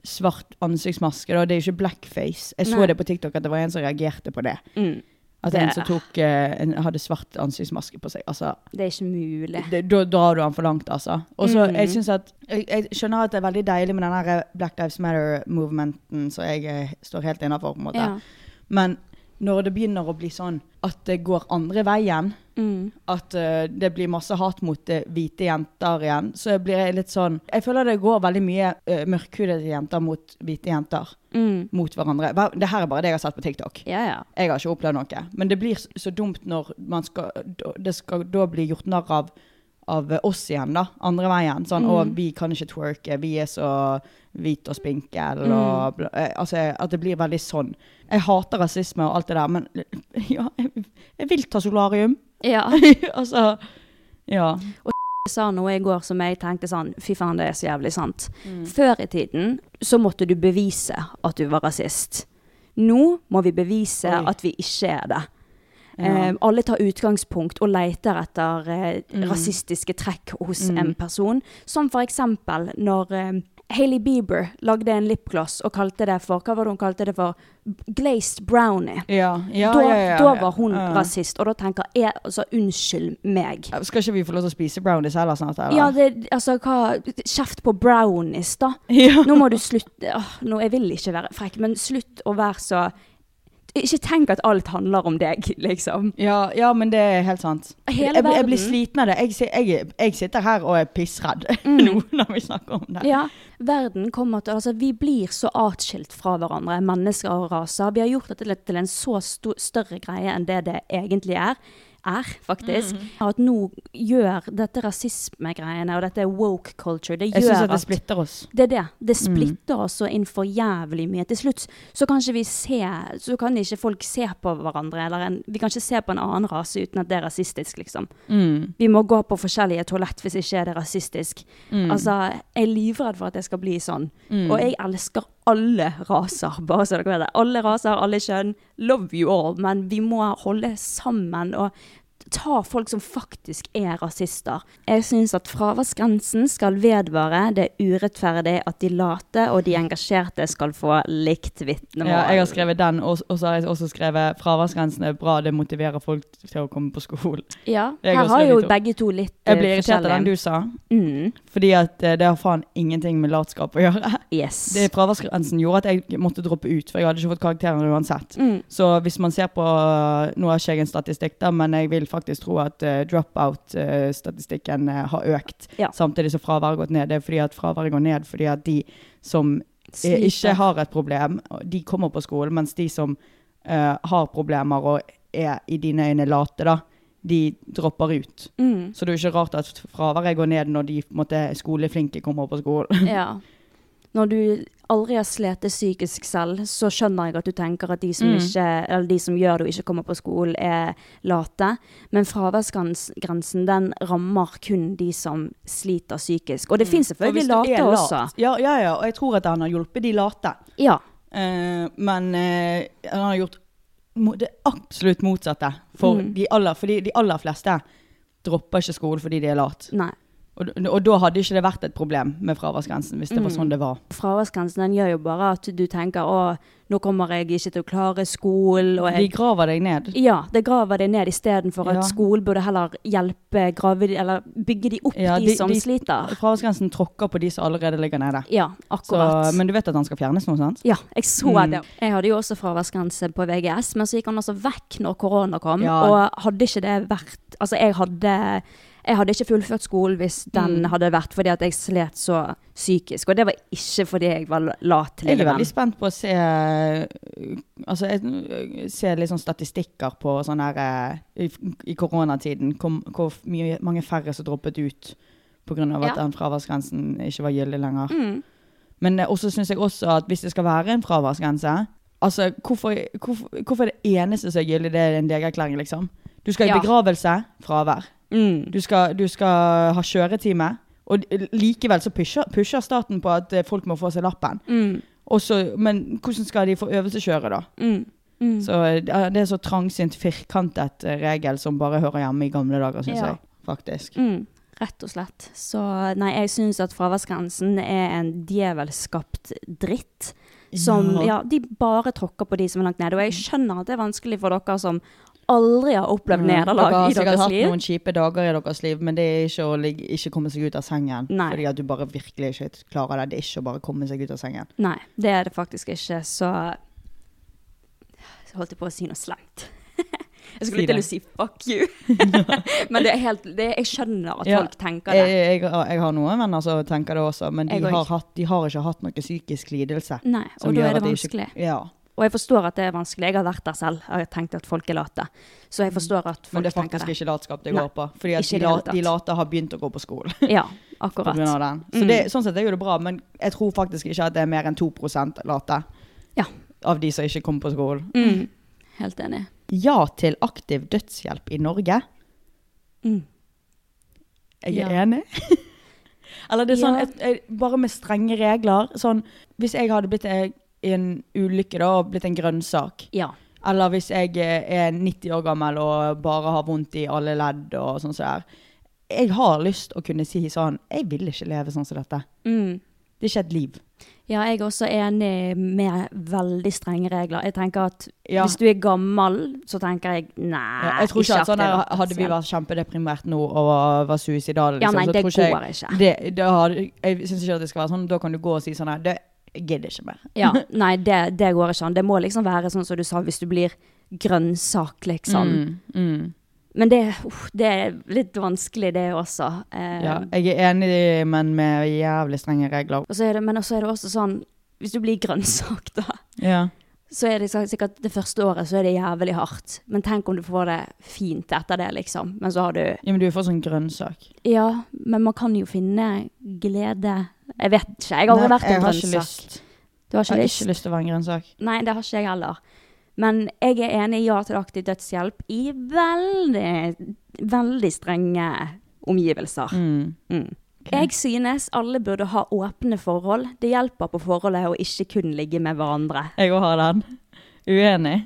svart ansiktsmaske. Da. Det er jo ikke blackface. Jeg så Nei. det på TikTok at det var en som reagerte på det. Mm. At Det- en som tok, eh, en, hadde svart ansiktsmaske på seg. Altså, Det er ikke mulig. det, da drar du han for langt, altså. Og så, Mhm. jeg synes at jeg, jeg skjønner at det er veldig deilig med den her eh, Black Lives Matter-movementen, som jeg eh, står helt innafor, på en måte. Ja. Men når det begynner å bli sånn at det går andre veien, Mm. at eh, det blir masse hat mot eh, hvite jenter igjen, så blir jeg litt sånn Jeg føler det går veldig mye uh, mørkhudede jenter mot hvite jenter Mm. mot hverandre. Hva- Det her er bare det jeg har sett på TikTok. Ja, ja. Jeg har ikke opplevd noe. Men det blir s- så dumt når man skal da- Det skal da bli gjort narr av, av oss igjen, da. Andre veien. Sånn 'Å, Mm. vi kan ikke twerke. Vi er så hvite og spinkel', Mm. og bla, eh, Altså, at det blir veldig sånn. Jeg hater rasisme og alt det der, men ja, jeg, jeg vil ta solarium. ja. altså Ja. Jeg sa noe i går som jeg tenkte sånn Fy faen, det er så jævlig sant. Mm. Før i tiden så måtte du bevise at du var rasist. Nå må vi bevise Oi. at vi ikke er det. Ja. Eh, alle tar utgangspunkt og leter etter eh, Mm. rasistiske trekk hos en person. Som for eksempel når eh, Hailey Bieber lagde en lipgloss og kalte det for Hva var det hun kalte det for? Glazed brownie. Ja, ja, da, ja, ja, da ja. var hun Ja. rasist, og da tenker jeg altså, unnskyld meg. Skal ikke vi få lov til å spise brownies heller snart? Eller? Ja, det, altså hva Kjeft på brownies, da. Ja. Nå må du slutte åh, nå, Jeg vil ikke være frekk, men slutt å være så Ikke tenk at alt handler om deg, liksom. Ja, ja, men det er helt sant. Hele jeg, blir- jeg blir verden. sliten av det. Jeg, si- jeg, jeg sitter her og er pissredd nå når vi snakker om det. Ja, verden kommer til Altså, vi blir så atskilt fra hverandre, mennesker og raser. Vi har gjort dette til, til en så sto, større greie enn det det egentlig er. Er, faktisk. Mm. At nå gjør dette rasismegreiene og dette woke culture Det Jeg gjør syns at det splitter oss. Det er det. Det splitter oss så inn for jævlig mye. Til slutt så kan ikke vi se Så kan ikke folk se på hverandre, eller en, vi kan ikke se på en annen rase uten at det er rasistisk, liksom. Mm. Vi må gå på forskjellige toalett hvis ikke er det rasistisk. Mm. Altså, jeg er livredd for at det skal bli sånn. Og jeg elsker alle raser, bare så dere vet det. Alle raser, alle kjønn. Love you all. Men vi må holde sammen og ta folk som faktisk er rasister. Jeg syns at fraværsgrensen skal vedvare. Det er urettferdig at de late og de engasjerte skal få likt vitnemål. Ja, jeg har skrevet den, og, og så har jeg også skrevet 'fraværsgrensen er bra, det motiverer folk til å komme på skolen'. Ja, Jeg har her har jo skrevet to. begge to litt eh, Jeg blir irritert av den du sa, Mm, fordi at eh, det har faen ingenting med latskap å gjøre. yes. Det Fraværsgrensen gjorde at jeg måtte droppe ut, for jeg hadde ikke fått karakterer uansett. mm, Så hvis man ser på eh, Nå har ikke jeg en statistikk, da, men jeg vil faktisk tro at eh, dropout-statistikken eh, har økt. Ja. Samtidig som fraværet har gått ned. Det er fordi at fraværet går ned fordi at de som eh, ikke sliter. har et problem, de kommer på skolen, mens de som eh, har problemer og er i dine øyne late, da, de dropper ut. mm, Så det er jo ikke rart at fraværet går ned når de på en måte, skoleflinke kommer på skolen. ja. Når du aldri har slitt psykisk selv, så skjønner jeg at du tenker at de som, Mm. ikke, eller de som gjør det og ikke kommer på skolen, er late. Men fraværsgrensen den rammer kun de som sliter psykisk. Og det finnes Og Mm. hvis selvfølgelig du er late lat- også. Ja, ja, ja, og jeg tror at han har hjulpet de late. Ja. Eh, men eh, han har gjort mo- det absolutt motsatte. For Mm. de, aller, fordi de aller fleste dropper ikke skolen fordi de er lat. Nei. Og, d- og da hadde ikke det vært et problem med fraværsgrensen, hvis det Mm. var sånn det var. Fraværsgrensen den gjør jo bare at du tenker å, nå kommer jeg ikke til å klare skolen. Og De jeg, graver deg ned. ja, det graver deg ned istedenfor at Ja. skolen burde heller hjelpe, grave, de- eller bygge de opp, Ja, de, som sliter. Fraværsgrensen tråkker på de som allerede ligger nede. Ja, Så, akkurat. men Mm. du vet at han skal fjernes nå, sant? ja, jeg så det. Jeg hadde jo også fraværsgrense på VGS, men så gikk han altså vekk når korona kom. Ja. Og hadde ikke det vært Altså, jeg hadde, jeg hadde ikke fullført skolen hvis den Mm. hadde vært fordi at jeg slet så psykisk. Og det var ikke fordi jeg var lat. Jeg lille er venn. veldig spent på å se øh, Altså, jeg øh, ser litt sånn statistikker på sånn her øh, I, i koronatiden kom, hvor mye, mange færre som droppet ut pga. at Ja. den fraværsgrensen ikke var gyldig lenger. Mm. Men øh, også syns jeg også at hvis det skal være en fraværsgrense Altså, hvorfor, hvorfor, hvorfor er det eneste som er gyldig, det er en legeerklæring, liksom? Du skal i Ja. begravelse fravær. Mm. Du skal, du skal ha kjøretime. Og eh, likevel så pusher, pusher staten på at øh, folk må få seg lappen. Mm, Og så- men hvordan skal de få øvelseskjøre, da? mm, mm. Så eh, Det er så trangsynt, firkantet eh, regel som bare hører hjemme i gamle dager, syns Ja. jeg. faktisk. mm. Rett og slett. Så nei, jeg syns at fraværsgrensen er en djevelskapt dritt. Som Ja. Mm. Ja, de bare tråkker på de som er langt nede. Og jeg skjønner at det er vanskelig for dere som aldri har opplevd nederlag i Mm, Dere har deres sikkert hatt liv. noen kjipe dager i deres liv, men det er ikke å ligge, ikke komme seg ut av sengen. Nei. Fordi at du bare virkelig ikke klarer det. Det er ikke å bare komme seg ut av sengen. Nei, det er det faktisk ikke, så Så holdt jeg på å si noe slemt. Jeg Si skulle til det. å si 'fuck you', men det er helt, det, jeg skjønner at Ja, Eh, folk tenker Jeg, det. jeg, jeg har noen venner som tenker det også, men de Jeg har, også. hatt, de har ikke hatt noe psykisk lidelse. Nei, som og da gjør er det at de vanskelig. Ikke, ja, Og jeg forstår at det er vanskelig. Jeg har vært der selv. Jeg har tenkt at folk er late. Så jeg forstår at folk Mm. men det er tenker faktisk det. ikke latskap det Nei, går på. Fordi at ikke i de, det hele la- de tatt. late har begynt å gå på skolen. Ja, på grunn akkurat. av den. Så det, sånn sett er jo det bra, men jeg tror faktisk ikke at det er mer enn 2 late Ja. av de som ikke kom på skolen. Mm. Helt enig. Ja til aktiv dødshjelp i Norge. Mm. Jeg er Ja. enig. Eller det er sånn, Ja. et, et, bare med strenge regler. Sånn, hvis jeg hadde blitt eh, i en ulykke da, og blitt en grønnsak, Ja. eller hvis jeg eh, er 90 år gammel og bare har vondt i alle ledd og sånn som det er, jeg har lyst å kunne si sånn, jeg vil ikke leve sånn som dette. Mm. Det er ikke et liv. Ja, jeg er også enig med veldig strenge regler. Jeg tenker at Ja. hvis du er gammel, så tenker jeg nei. Ja, jeg tror ikke at sånn her, aktiv Hadde vi dødshjelp. vært kjempedeprimert nå og var suicidale, Ja, nei, så det tror ikke går jeg, ikke. Det, det har, jeg syns ikke at det skal være sånn. Da kan du gå og si sånn her Det jeg gidder ikke mer. Ja, nei, det, det går ikke an. Det må liksom være sånn som du sa, hvis du blir grønnsak, liksom. Mm. Men det, uff, det er litt vanskelig, det også. Eh, Ja, jeg er enig, men med jævlig strenge regler. og så er det, men også er det også sånn Hvis du blir grønnsak, da, Ja. så er det så- sikkert det første året så er det jævlig hardt. Men tenk om du får det fint etter det, liksom. Men så har du ja, men du er for sånn grønnsak. Ja, men man kan jo finne glede Jeg vet ikke. Jeg har aldri Nei, vært en jeg har ikke grønnsak. lyst. Du har Jeg ikke har lyst? ikke lyst til å være en grønnsak. Nei, det har ikke jeg heller. Men jeg er enig i ja til aktiv dødshjelp i veldig, veldig strenge omgivelser. Mm. Jeg synes alle burde ha åpne forhold. Det hjelper på forholdet å ikke kun ligge med hverandre. Jeg òg har den. Uenig.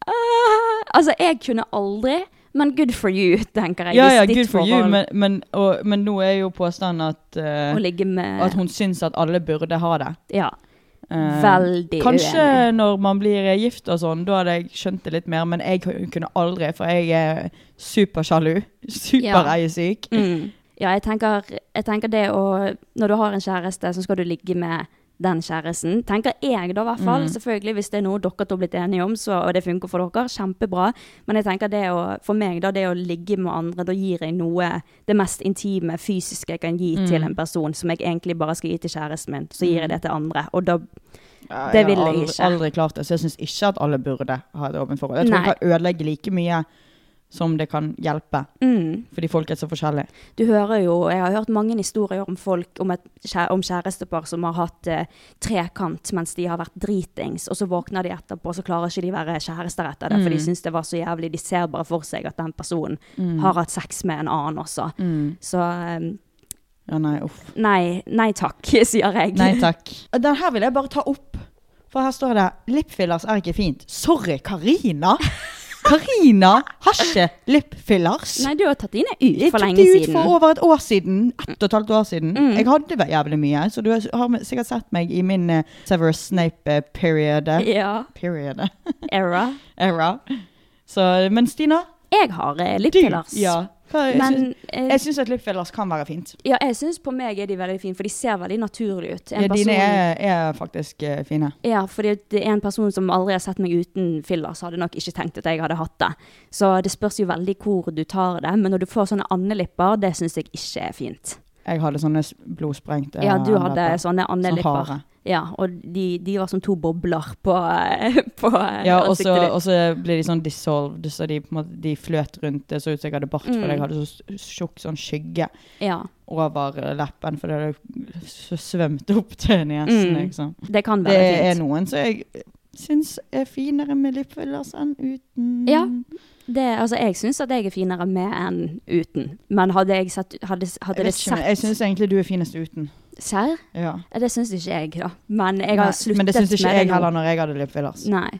Ah, altså, jeg kunne aldri, men good for you, tenker jeg. Ja hvis ja, ditt good for you, forhold- men, men, og, men nå er jo påstanden at, eh, Å ligge med at hun syns at alle burde ha det. Ja. Eh, Veldig Kanskje uenig. når man blir gift og sånn, da hadde jeg skjønt det litt mer, men jeg kunne aldri, for jeg er supersjalu. Supereiesyk. Mm. Ja, jeg tenker, jeg tenker det å Når du har en kjæreste, så skal du ligge med den kjæresten. Tenker jeg, da, i hvert Mm. fall. Selvfølgelig, hvis det er noe dere to har blitt enige om, så, og det funker for dere, kjempebra. Men jeg tenker det å For meg, da, det å ligge med andre, da gir jeg noe Det mest intime, fysiske jeg kan gi Mm. til en person, som jeg egentlig bare skal gi til kjæresten min. Så gir jeg det til andre. Og da Ja, Det vil jeg har aldri, ikke. aldri klart det, så jeg syns ikke at alle burde ha et åpent forhold. Jeg tror Nei. det kan ødelegge like mye som det kan hjelpe, mm. fordi folk er så forskjellige. Du hører jo, jeg har hørt mange historier om folk, om, et, kjæ- om kjærestepar som har hatt eh, trekant mens de har vært dritings, og så våkner de etterpå, så klarer ikke de være kjærester etter det, for Mm. de syns det var så jævlig, de ser bare for seg at den personen har hatt sex med en annen også. Mm. Så eh, Ja, nei, uff. nei, nei takk, sier jeg. Nei takk. Den her vil jeg bare ta opp, for her står det 'Lipfillers er ikke fint'. Sorry, Karina! Karina har ikke lipfillers. Nei, du har tatt dine ut Jeg for tok lenge de ut siden. Mm. for over et år siden. Ett og et halvt år siden. Jeg hadde vært jævlig mye, så du har sikkert sett meg i min eh, Severus eh, Snape-periode. Ja, Periode. era. eh, Era. Så, men Stina, Jeg har eh, du lipfillers. Ja. Hva, jeg Men, syns- eh, jeg syns at lipfillers kan være fint. Ja, jeg syns på meg er de veldig fine, for de ser veldig naturlige ut. En Ja, dine person- er, er faktisk eh, fine. Ja, fordi det er en person som aldri har sett meg uten fillers, hadde nok ikke tenkt at jeg hadde hatt det. Så det spørs jo veldig hvor du tar det, men når du får sånne andelipper, det syns jeg ikke er fint. Jeg hadde sånne s- blodsprengte Ja, du eh, hadde lepper. sånne Sånn andelipper. hare. Ja, og de, de var som to bobler på, eh, på Ja, og så, ansiktet ditt. og så ble de sånn dissolved, så de, på en måte, de fløt rundt. Det så ut som jeg hadde bart, Mm. for jeg hadde så s- tjukk sånn skygge. Ja, over leppen, for det hadde s- svømt opp til nesen, Mm. liksom. det kan Det være er fint. noen som jeg syns er finere med lipfillers enn uten. Ja. Det, altså, jeg syns at jeg er finere med enn uten, men hadde jeg sett Hadde, hadde Jeg, det vet ikke, men jeg sett syns egentlig du er finest uten. Serr? Ja. Det syns ikke jeg, da. Men jeg har Nei, sluttet men det syns ikke med det jeg nå. heller når jeg hadde lipfillers. Nei.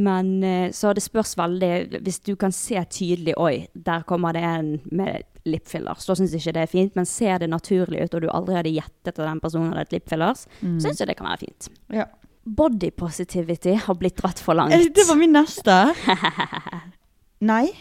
Men eh, så det spørs veldig Hvis du kan se tydelig Oi, der kommer det en med lipfillers. Da syns ikke det er fint, men ser det naturlig ut, og du aldri hadde gjettet at den personen hadde et lipfillers, syns jeg Mm. det kan være fint. Mm. Ja. Body positivity har blitt dratt for Eh, langt. Det var min neste. Nei,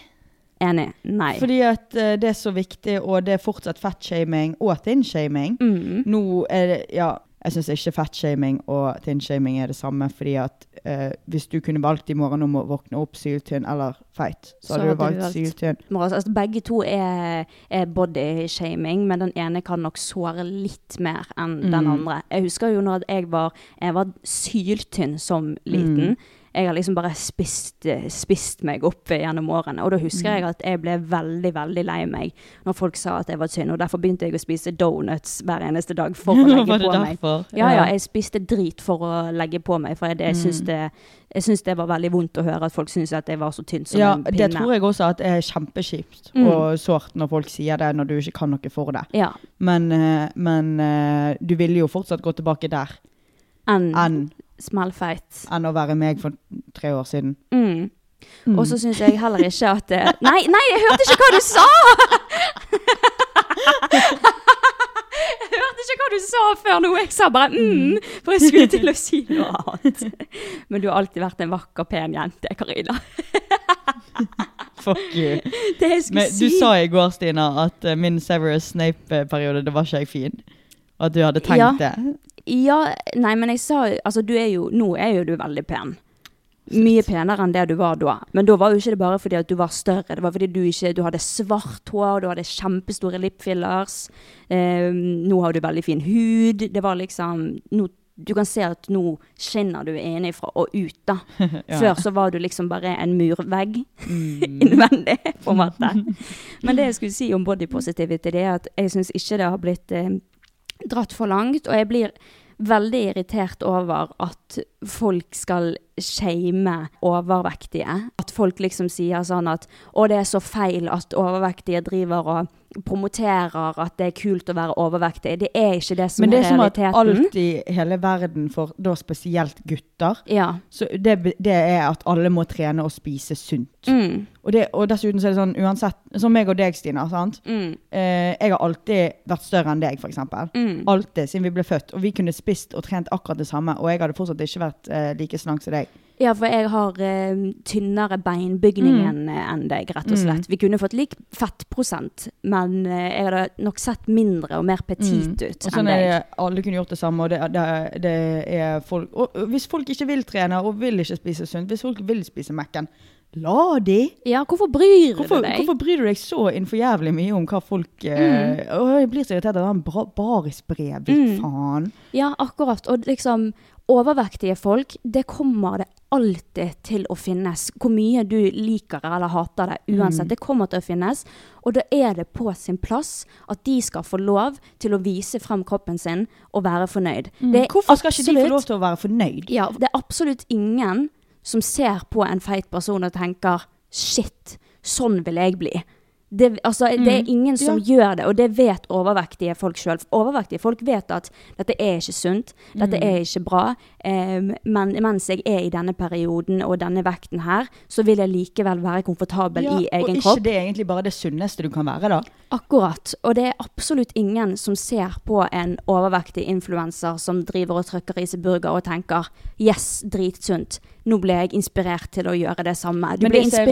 Enig. Nei. fordi at eh, det er så viktig, og det er fortsatt fettshaming og thinnshaming. Mm. Nå er det Ja, jeg syns ikke fettshaming og thinnshaming er det samme, fordi at eh, hvis du kunne valgt i morgen om å våkne opp syltynn eller feit, så, hadde du valgt syltynn. Men Altså, altså, begge to er, er bodyshaming, men den ene kan nok såre litt mer enn den Mm. andre. Jeg husker jo nå at jeg var, jeg var syltynn som Mm. liten. Jeg har liksom bare spist, spist meg opp gjennom årene. Og da Mm. husker jeg at jeg ble veldig, veldig lei meg når folk sa at jeg var tynn. Og derfor begynte jeg å spise donuts hver eneste dag for å legge på meg. Ja, ja, jeg spiste drit for å legge på meg, for jeg, jeg, Mm. syns det, jeg syns det var veldig vondt å høre at folk syntes at jeg var så tynn som ja, en pinne. Mm. det tror jeg også at er kjempekjipt og sårt når folk sier det når du ikke kan noe for det. Ja, Men, eh, men eh, du ville jo fortsatt gå tilbake der enn enn, smellfeit. enn å være meg for tre år siden. Mm. Og så syns jeg heller ikke at det Nei, nei, jeg hørte ikke hva du sa! Jeg hørte ikke hva du sa før nå. Jeg sa bare mm, for jeg skulle til å si noe annet. Men du har alltid vært en vakker, pen jente, Karina. Fuck you. Det jeg skulle Men du si sa i går, Stina, at eh, min Severus Snape-periode, det var ikke jeg fin. Og at du hadde tenkt Ja. det. Ja, nei, men jeg sa Altså, du er jo Nå er jo du veldig pen. Mye penere enn det du var da. Men da var jo ikke det bare fordi at du var større. Det var fordi du ikke Du hadde svart hår, du hadde kjempestore lipfillers. Eh, nå har du veldig fin hud. Det var liksom nå, Du kan se at nå skinner du innenfra og ut, da. Før så var du liksom bare en murvegg Mm. innvendig, på en måte. Men det jeg skulle si om body positivity, det er at jeg syns ikke det har blitt eh, dratt for langt, og jeg blir veldig irritert over at folk skal shame overvektige. At folk liksom sier sånn at å, det er så feil at overvektige driver og promoterer at det er kult å være overvektig. Det er ikke det som Men det er er som at realiteten. alt i hele verden, for da spesielt gutter, Ja. så det, be- det er at alle må trene og spise sunt. Mm, Og, det, og dessuten så er det sånn, uansett, som meg og deg, Stina, sant? mm, Eh, jeg har alltid vært større enn deg, for eksempel. mm. Alltid, siden vi ble født. Og vi kunne spist og trent akkurat det samme, og jeg hadde fortsatt ikke vært eh, like slank som deg. Ja, for jeg har eh, tynnere beinbygning Mm. enn eh, enn deg, rett og slett. Vi kunne fått lik fettprosent, men eh, jeg hadde nok sett mindre og mer petit ut Og sånn enn er deg. det, alle kunne gjort det samme, og det, det, det er folk Og hvis folk ikke vil trene, og vil ikke spise sunt, hvis folk vil spise Mac-en, la de! Ja, hvorfor bryr Hvorfor, du deg? hvorfor bryr du deg så innenfor jævlig mye om hva folk eh, Åh, Jeg blir så irritert av han bra- Baris-brevet, faen. Ja, akkurat. Og liksom, overvektige folk, det kommer det alltid til å finnes. Hvor mye du liker eller hater det, Mm. uansett. Det kommer til å finnes. Og da er det på sin plass at de skal få lov til å vise frem kroppen sin og være fornøyd. Det er Mm. Hvorfor skal ikke de få absolutt- lov til å være fornøyd? ja, det er absolutt ingen som ser på en feit person og tenker Shit, sånn vil jeg bli. Det, altså, det Mm. er ingen som gjør det, og det vet overvektige folk sjøl. Overvektige folk vet at dette er ikke sunt, dette Mm. er ikke bra, eh, men mens jeg er i denne perioden og denne vekten her, så vil jeg likevel være komfortabel i og egen ikke kropp. det er egentlig bare det sunneste du kan være, da? Akkurat. Og det er absolutt ingen som ser på en overvektig influenser som driver og trykker i seg burger og tenker 'yes, dritsunt', nå ble jeg inspirert til å gjøre det samme. Du Men blir det ser- inspirert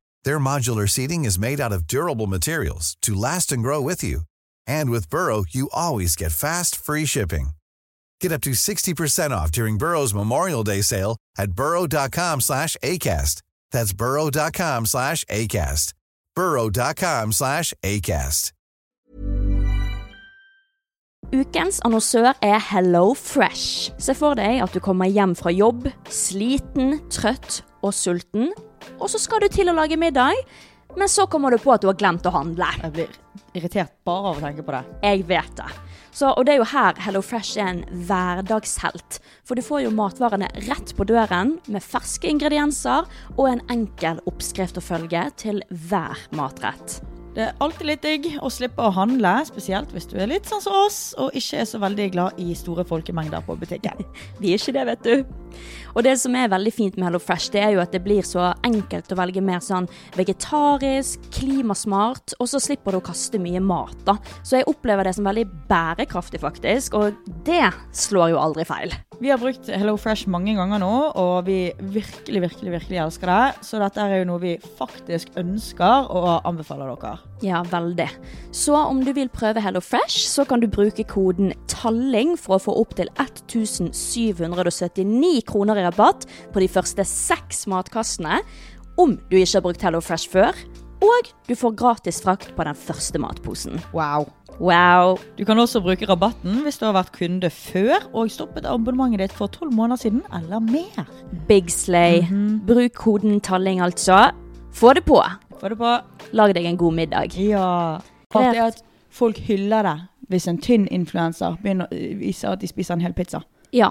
Their modular seating is made out of durable materials to last and grow with you. And with Burrow, you always get fast, free shipping. Get up to 60% off during Burrow's Memorial Day sale at burrow.com slash ACAST. That's burrow.com slash ACAST. burrow.com slash ACAST. Ukens annonsør er Hello Fresh. Se for deg at du kommer hjem fra jobb, sliten, trøtt og sulten, og så skal du til å lage middag. Men så kommer du på at du har glemt å handle. Jeg blir irritert bare av å tenke på det. Jeg vet det. Så, og det er jo her HelloFresh er en hverdagshelt. For du får jo matvarene rett på døren med ferske ingredienser og en enkel oppskrift å følge til hver matrett. Det er alltid litt digg å slippe å handle, spesielt hvis du er litt sånn som oss og ikke er så veldig glad i store folkemengder på butikken. Vi er ikke det, vet du. Og det som er veldig fint med HelloFresh, det er jo at det blir så enkelt å velge mer sånn vegetarisk, klimasmart, og så slipper du å kaste mye mat, da. Så jeg opplever det som veldig bærekraftig, faktisk, og det slår jo aldri feil. Vi har brukt Hello Fresh mange ganger nå, og vi virkelig, virkelig, virkelig elsker det. Så dette er jo noe vi faktisk ønsker og anbefaler dere. Ja, veldig. Så om du vil prøve HelloFresh, så kan du bruke koden TALLING for å få opptil 1779 kroner i rabatt på de første seks matkassene om du ikke har brukt HelloFresh før, og du får gratis frakt på den første matposen. Wow. Wow! Du kan også bruke rabatten hvis du har vært kunde før og stoppet abonnementet ditt for tolv måneder siden eller mer. Big slay. Mhm. Bruk koden TALLING, altså. Få det på. Få det på. Lag deg en god middag. Ja. Rart er at folk hyller det hvis en tynn influenser begynner å vise at de spiser en hel pizza. Ja,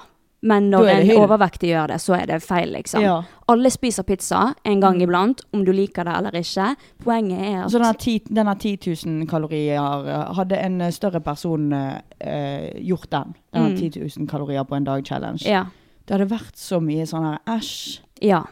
men Da når er det en hyll. overvektig gjør det, så er det feil, liksom. Ja. Alle spiser pizza en gang iblant, om du liker det eller ikke. Poenget er at Så denne, ti, denne 10 000 kalorier eh, Hadde en eh, større person eh, eh, gjort den, denne Mm. 10 000 kalorier på en dag-challenge, Ja. det hadde vært så mye sånn her æsj. ja.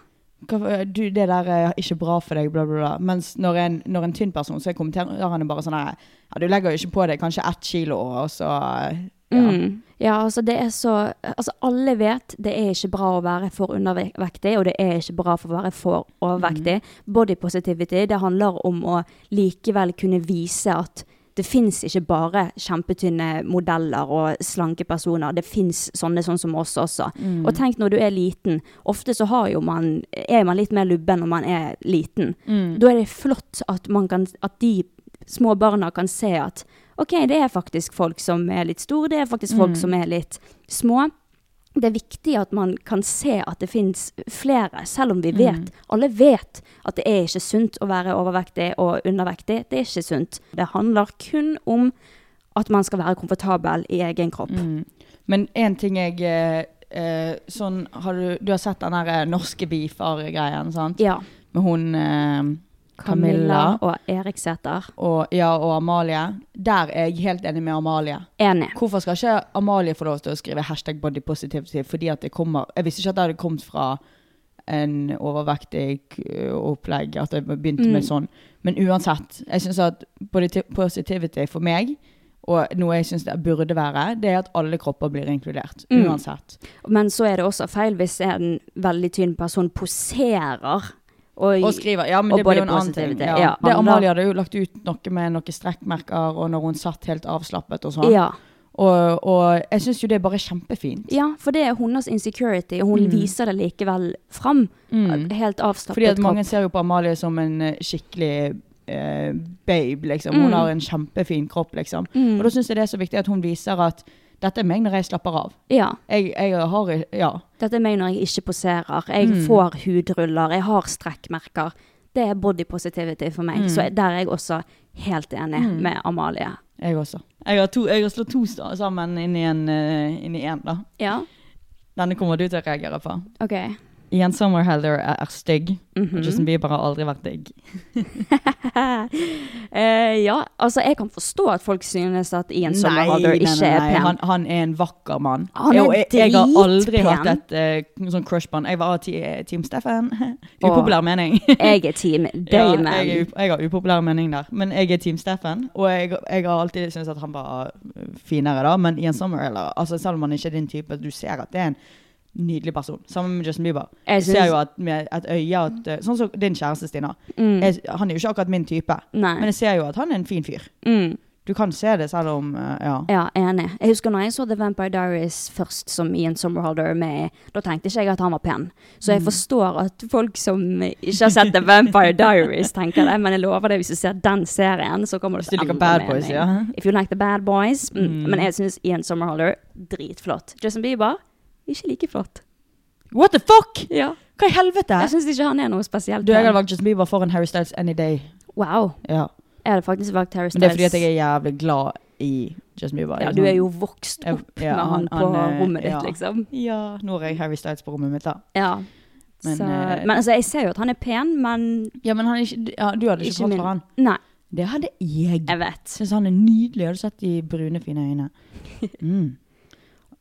hva- Du, det der er ikke bra for deg, bla, bla, bla. Mens når en, når en tynn person, så er kommentarene bare sånn her Ja, du legger jo ikke på deg kanskje ett kilo, og så eh, ja. Mm. Ja, altså det er så Altså alle vet det er ikke bra å være for undervektig, og det er ikke bra for å være for overvektig. Body positivity, det handler om å likevel kunne vise at det fins ikke bare kjempetynne modeller og slanke personer. Det fins sånne sånn som oss også. Og tenk når du er liten. Ofte så har jo man, er man litt mer lubben når man er liten. Da er det flott at, man kan, at de små barna kan se at OK, det er faktisk folk som er litt store, det er faktisk folk Mm. som er litt små. Det er viktig at man kan se at det fins flere, selv om vi Mm. vet Alle vet at det er ikke sunt å være overvektig og undervektig. Det er ikke sunt. Det handler kun om at man skal være komfortabel i egen kropp. Mm. Men én ting jeg eh, eh, Sånn, har du, du har sett den der eh, norske beefer-greien, sant? Ja. Med hun eh, Camilla Camilla. og Eriksæter. og, ja, og Amalie. Der er jeg helt enig med Amalie. Enig. Hvorfor skal ikke Amalie få lov til å skrive hashtag body positivity? Fordi at det kommer Jeg visste ikke at det hadde kommet fra en overvektig eh, opplegg, at det begynte med Mm. sånn. Men uansett, jeg syns at body ti- positivity for meg, og noe jeg syns det burde være, det er at alle kropper blir inkludert. Mm. Uansett. Men så er det også feil hvis en veldig tynn person poserer. Og skriver. Ja, men Og det blir body jo en annen ting. positivity, Ja. ja. det, Handler- Amalie hadde jo lagt ut noe med noen strekkmerker, og når hun satt helt avslappet og sånn. Ja. Og, og jeg syns jo det er bare kjempefint. ja, for det er hennes insecurity, og hun viser det likevel fram. Helt avslappet. Mm. Fordi at mange kropp. ser jo på Amalie som en eh, skikkelig eh, babe, liksom. Mm. Hun har en kjempefin kropp, liksom. Og da syns jeg det er så viktig at hun viser at dette er meg når jeg slapper av. Ja. Jeg, jeg har Ja. Dette er meg når jeg ikke poserer. Jeg Mm. får hudruller, jeg har strekkmerker. Det er body positivity for meg. Mm. Så der er jeg også helt enig med Amalie. Jeg også. Jeg har, to, jeg har slått to sta- sammen inn i en, eh, inn i en, da. Ja, Denne kommer du til å reagere på. OK. Ian Sommerheller er, er stygg. og Justin Bieber har aldri vært digg. Eh, ja, altså jeg kan forstå at folk synes at Ian Sommerhalder nei, ikke er nei. pen. Han, han er en vakker mann. Han er Jo, jeg, jeg har aldri dritpen. hatt et eh, sånn crush på han. Jeg var ti, eh, Team Steffen. Upopulær mening. Jeg er team Ja, Damon. jeg, er up- jeg har upopulær mening der, men jeg er Team Steffen. Og jeg, jeg har alltid syntes at han var øh, finere, da. Men Ian Sommerheller, altså, selv om han ikke er din type, du ser at det er en nydelig person. Sammen med Justin Bieber. Jeg Jeg ser synes- jo at med et øye at, øh, Sånn som din kjæreste, Stina. Jeg, han er jo ikke akkurat min type, Mm. Nei. men jeg ser jo at han er en fin fyr. mm. Du kan se det selv om øh, Ja. Ja, enig. Jeg husker når jeg så The Vampire Diaries først som Ian Somerhalder med i, da tenkte ikke jeg at han var pen. Så Mm. jeg forstår at folk som ikke har sett The Vampire Diaries, tenker det. Men jeg lover deg, hvis du ser den serien, så kommer det Hvis du liker endre Bad Boys, mening. ja. If you like the bad boys. Mm. Men jeg syns Ian Somerhalder dritflott. Justin Bieber ikke like flott. What the fuck?! Ja. Hva i helvete?! Jeg syns ikke han er noe spesielt Du, jeg hadde pen. valgt Justin Bieber foran Harry Styles any day. Wow. Ja. Jeg hadde faktisk valgt Harry Men Styles. det er fordi at jeg er jævlig glad i Justin Bieber. ja, liksom. Du er jo vokst Jeg- opp ja, med han, han- på han, eh, rommet ditt, ja. liksom. Ja, nå har jeg Harry Styles på rommet mitt, da. Ja. Men, så, eh, men altså, jeg ser jo at han er pen, men Ja, men han er ikke, ja, du hadde Ikke ikke fått min. for han. Nei, Det hadde jeg. jeg vet. Syns han er nydelig. Har du sett de brune, fine øynene? Mm.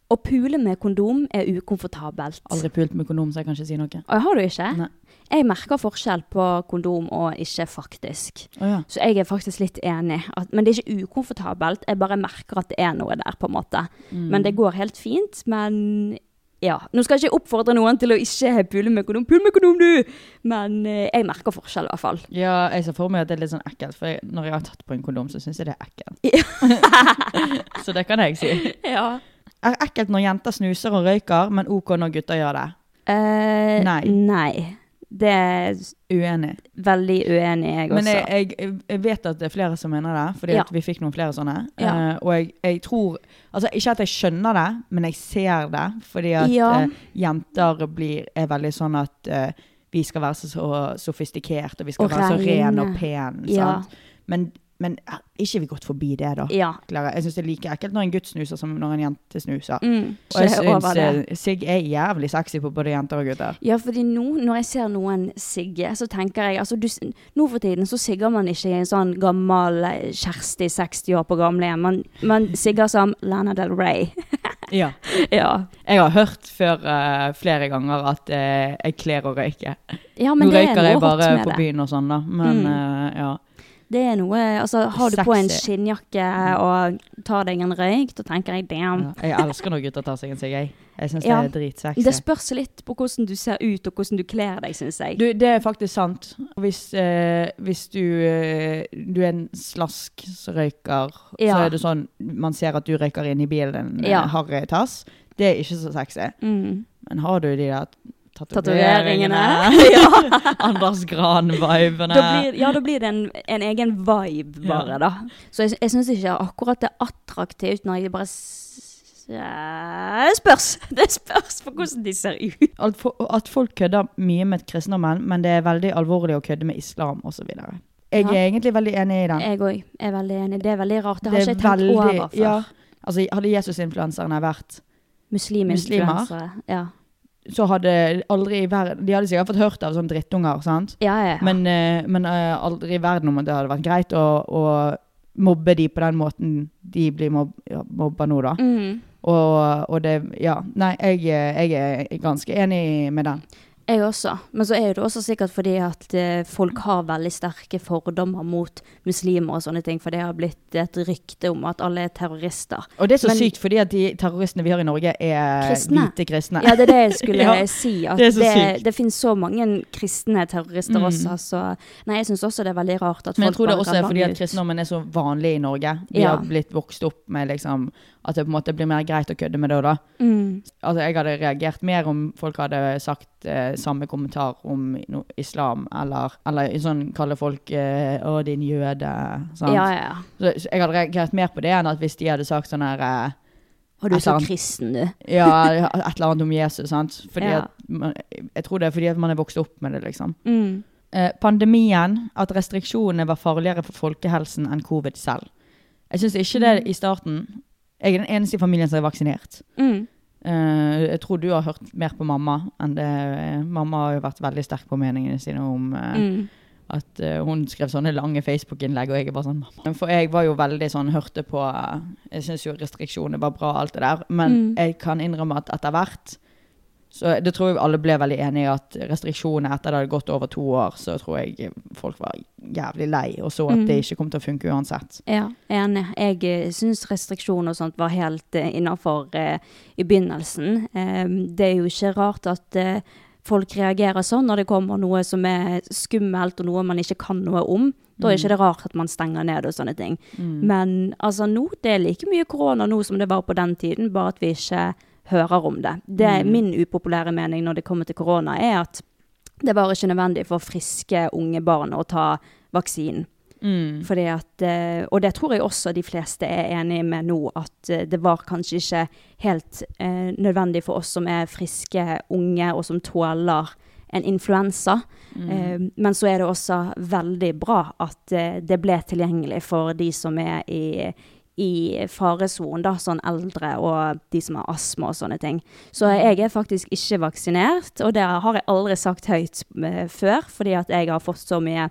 Å pule med kondom er ukomfortabelt. Aldri pult med kondom, så jeg kan ikke si noe. Og har du ikke? Nei. Jeg merker forskjell på kondom og ikke, faktisk. Å ja. Så jeg er faktisk litt enig. At, men det er ikke ukomfortabelt. Jeg bare merker at det er noe der, på en måte. Men Mm. det går helt fint. Men ja. Nå skal jeg ikke oppfordre noen til å ikke pule med kondom. Pul med kondom, du! Men eh, jeg merker forskjell, i hvert fall. ja, jeg ser for meg at det er litt sånn ekkelt, for jeg, når jeg har tatt på en kondom, så syns jeg det er ekkelt. så det kan jeg si. Ja. Er ekkelt når jenter snuser og røyker, men OK når gutter gjør det. Eh, Nei. nei. Det er s- Uenig. veldig uenig jeg også. Men jeg, jeg, jeg vet at det er flere som mener det, fordi Ja. at vi fikk noen flere sånne. Ja. Eh, og jeg, jeg tror Altså, ikke at jeg skjønner det, men jeg ser det. Fordi at Ja. eh, jenter blir, er veldig sånn at eh, vi skal være så, så sofistikert, og vi skal Og være så ren og rene. pen. Ja. Sant? Men, men eh, ikke vi gått forbi det, da. ja. Klara? Jeg syns det er like ekkelt når en gutt snuser som når en jente snuser. Mm, Og jeg så er over det. syns Sigg er jævlig sexy på både jenter og gutter. Ja, fordi nå, når jeg ser noen sigge, så tenker jeg altså, du, s- Nå for tiden så sigger man ikke i en sånn gammel eh, Kjersti 60 år på gamlehjem. Man, man sigger som Lana Del Rey. Ja. ja. Jeg har hørt før eh, flere ganger at eh, jeg kler å røyke. ja, men Nå det er røyker noe jeg hot bare på med det. Mm. byen og sånn, da. Men eh, ja. Det er noe Altså, har du på en Sexy. Mm. skinnjakke og tar deg en røyk, da tenker jeg damn. ja. Jeg elsker når gutter tar seg en sigg, jeg. Jeg syns Ja. det er dritsexy. Det spørs litt på hvordan du ser ut, og hvordan du kler deg, syns jeg. Du, det er faktisk sant. Hvis, eh, hvis du, eh, du er en slask som røyker, så Ja. er det sånn man ser at du røyker inn i bilen en Ja. ja. harry tass. Det er ikke så sexy. mm. Men har du de der tatoveringene Tatoveringene. ja. Anders Gran-vibene. Da blir, ja, da blir det en, en egen vibe bare, eh, Ja. da. Så jeg, jeg syns ikke akkurat det er attraktivt når jeg bare s- ja, spørs. Det spørs på hvordan de ser ut. At fo- at folk kødder mye med kristendommen, men det er veldig alvorlig å kødde med islam osv. Jeg Ja. er egentlig veldig enig i den. Jeg òg er veldig enig. Det er veldig rart. Det har er ikke jeg tenkt veldig- over før. Ja, altså, hadde Jesus-influenserne vært Musliminfluensere. Ja. så hadde aldri i verden De hadde sikkert fått hørt av sånne drittunger, sant? Ja, ja, ja. Men, eh, men eh, aldri i verden om det hadde vært greit å, å mobbe de på den måten de blir mob ja, mobba nå, da. Mhm. Og, og det Ja. Nei, jeg, eh, jeg er ganske enig med den. Jeg også. Men så er det også sikkert fordi at eh, folk har veldig sterke fordommer mot muslimer og sånne ting, for det har blitt et rykte om at alle er terrorister. Og det er så Men- sykt, fordi at de terroristene vi har i Norge, er Kristne. hvite kristne. Ja, det er det jeg skulle Ja, si. At det det, er så det, sykt. finnes så mange kristne terrorister Mm. også. Så nei, jeg syns også det er veldig rart at Men folk jeg tror det bare også er ramler fordi at ut. kristendommen er så vanlig i Norge. Vi Ja. har blitt vokst opp med liksom, at det på en måte blir mer greit å kødde med det. da. Mm. Altså, Jeg hadde reagert mer om folk hadde sagt eh, samme kommentar om no islam, eller, eller sånn kaller folk eh, 'å, din jøde'. Sant? Ja, ja, ja. Så, så jeg hadde reagert mer på det enn at hvis de hadde sagt sånn her eh, Og du er Et eller så annet. kristen, du. Ja, et eller annet om Jesus, sant. Fordi Ja. at man, jeg tror det er fordi at man er vokst opp med det, liksom. Mm. Eh, pandemien at restriksjonene var farligere for folkehelsen enn covid selv. Jeg syns ikke det i starten. Jeg er den eneste i familien som er vaksinert. Mm. Eh, jeg tror du har hørt mer på mamma enn det Mamma har jo vært veldig sterk på meningene sine om eh, Mm. at eh, hun skrev sånne lange Facebook-innlegg, og jeg er bare sånn mamma. For jeg var jo veldig sånn, hørte på eh, Jeg syns jo restriksjoner var bra, alt det der. Men Mm. jeg kan innrømme at etter hvert så det tror jeg alle ble veldig enige i at restriksjonene etter det hadde gått over to år, så tror jeg folk var jævlig lei og så at Mm. det ikke kom til å funke uansett. Ja, enig. Jeg eh, syns restriksjoner og sånt var helt eh, innafor eh, i begynnelsen. Em, det er jo ikke rart at eh, folk reagerer sånn når det kommer noe som er skummelt, og noe man ikke kan noe om. Da Mm. er ikke det rart at man stenger ned og sånne ting. Men altså nå, det er like mye korona nå som det var på den tiden, bare at vi ikke hører om det. Det er min upopulære mening når det kommer til korona, er at det var ikke nødvendig for friske unge barn å ta vaksinen. Fordi at, eh, og det tror jeg også de fleste er enige med nå, at eh, det var kanskje ikke helt eh, nødvendig for oss som er friske, unge og som tåler en influensa. Eh, men så er det også veldig bra at eh, det ble tilgjengelig for de som er i, i faresonen, da, sånn eldre og de som har astma og sånne ting. Så jeg er faktisk ikke vaksinert, og det har jeg aldri sagt høyt eh, før, fordi at jeg har fått så mye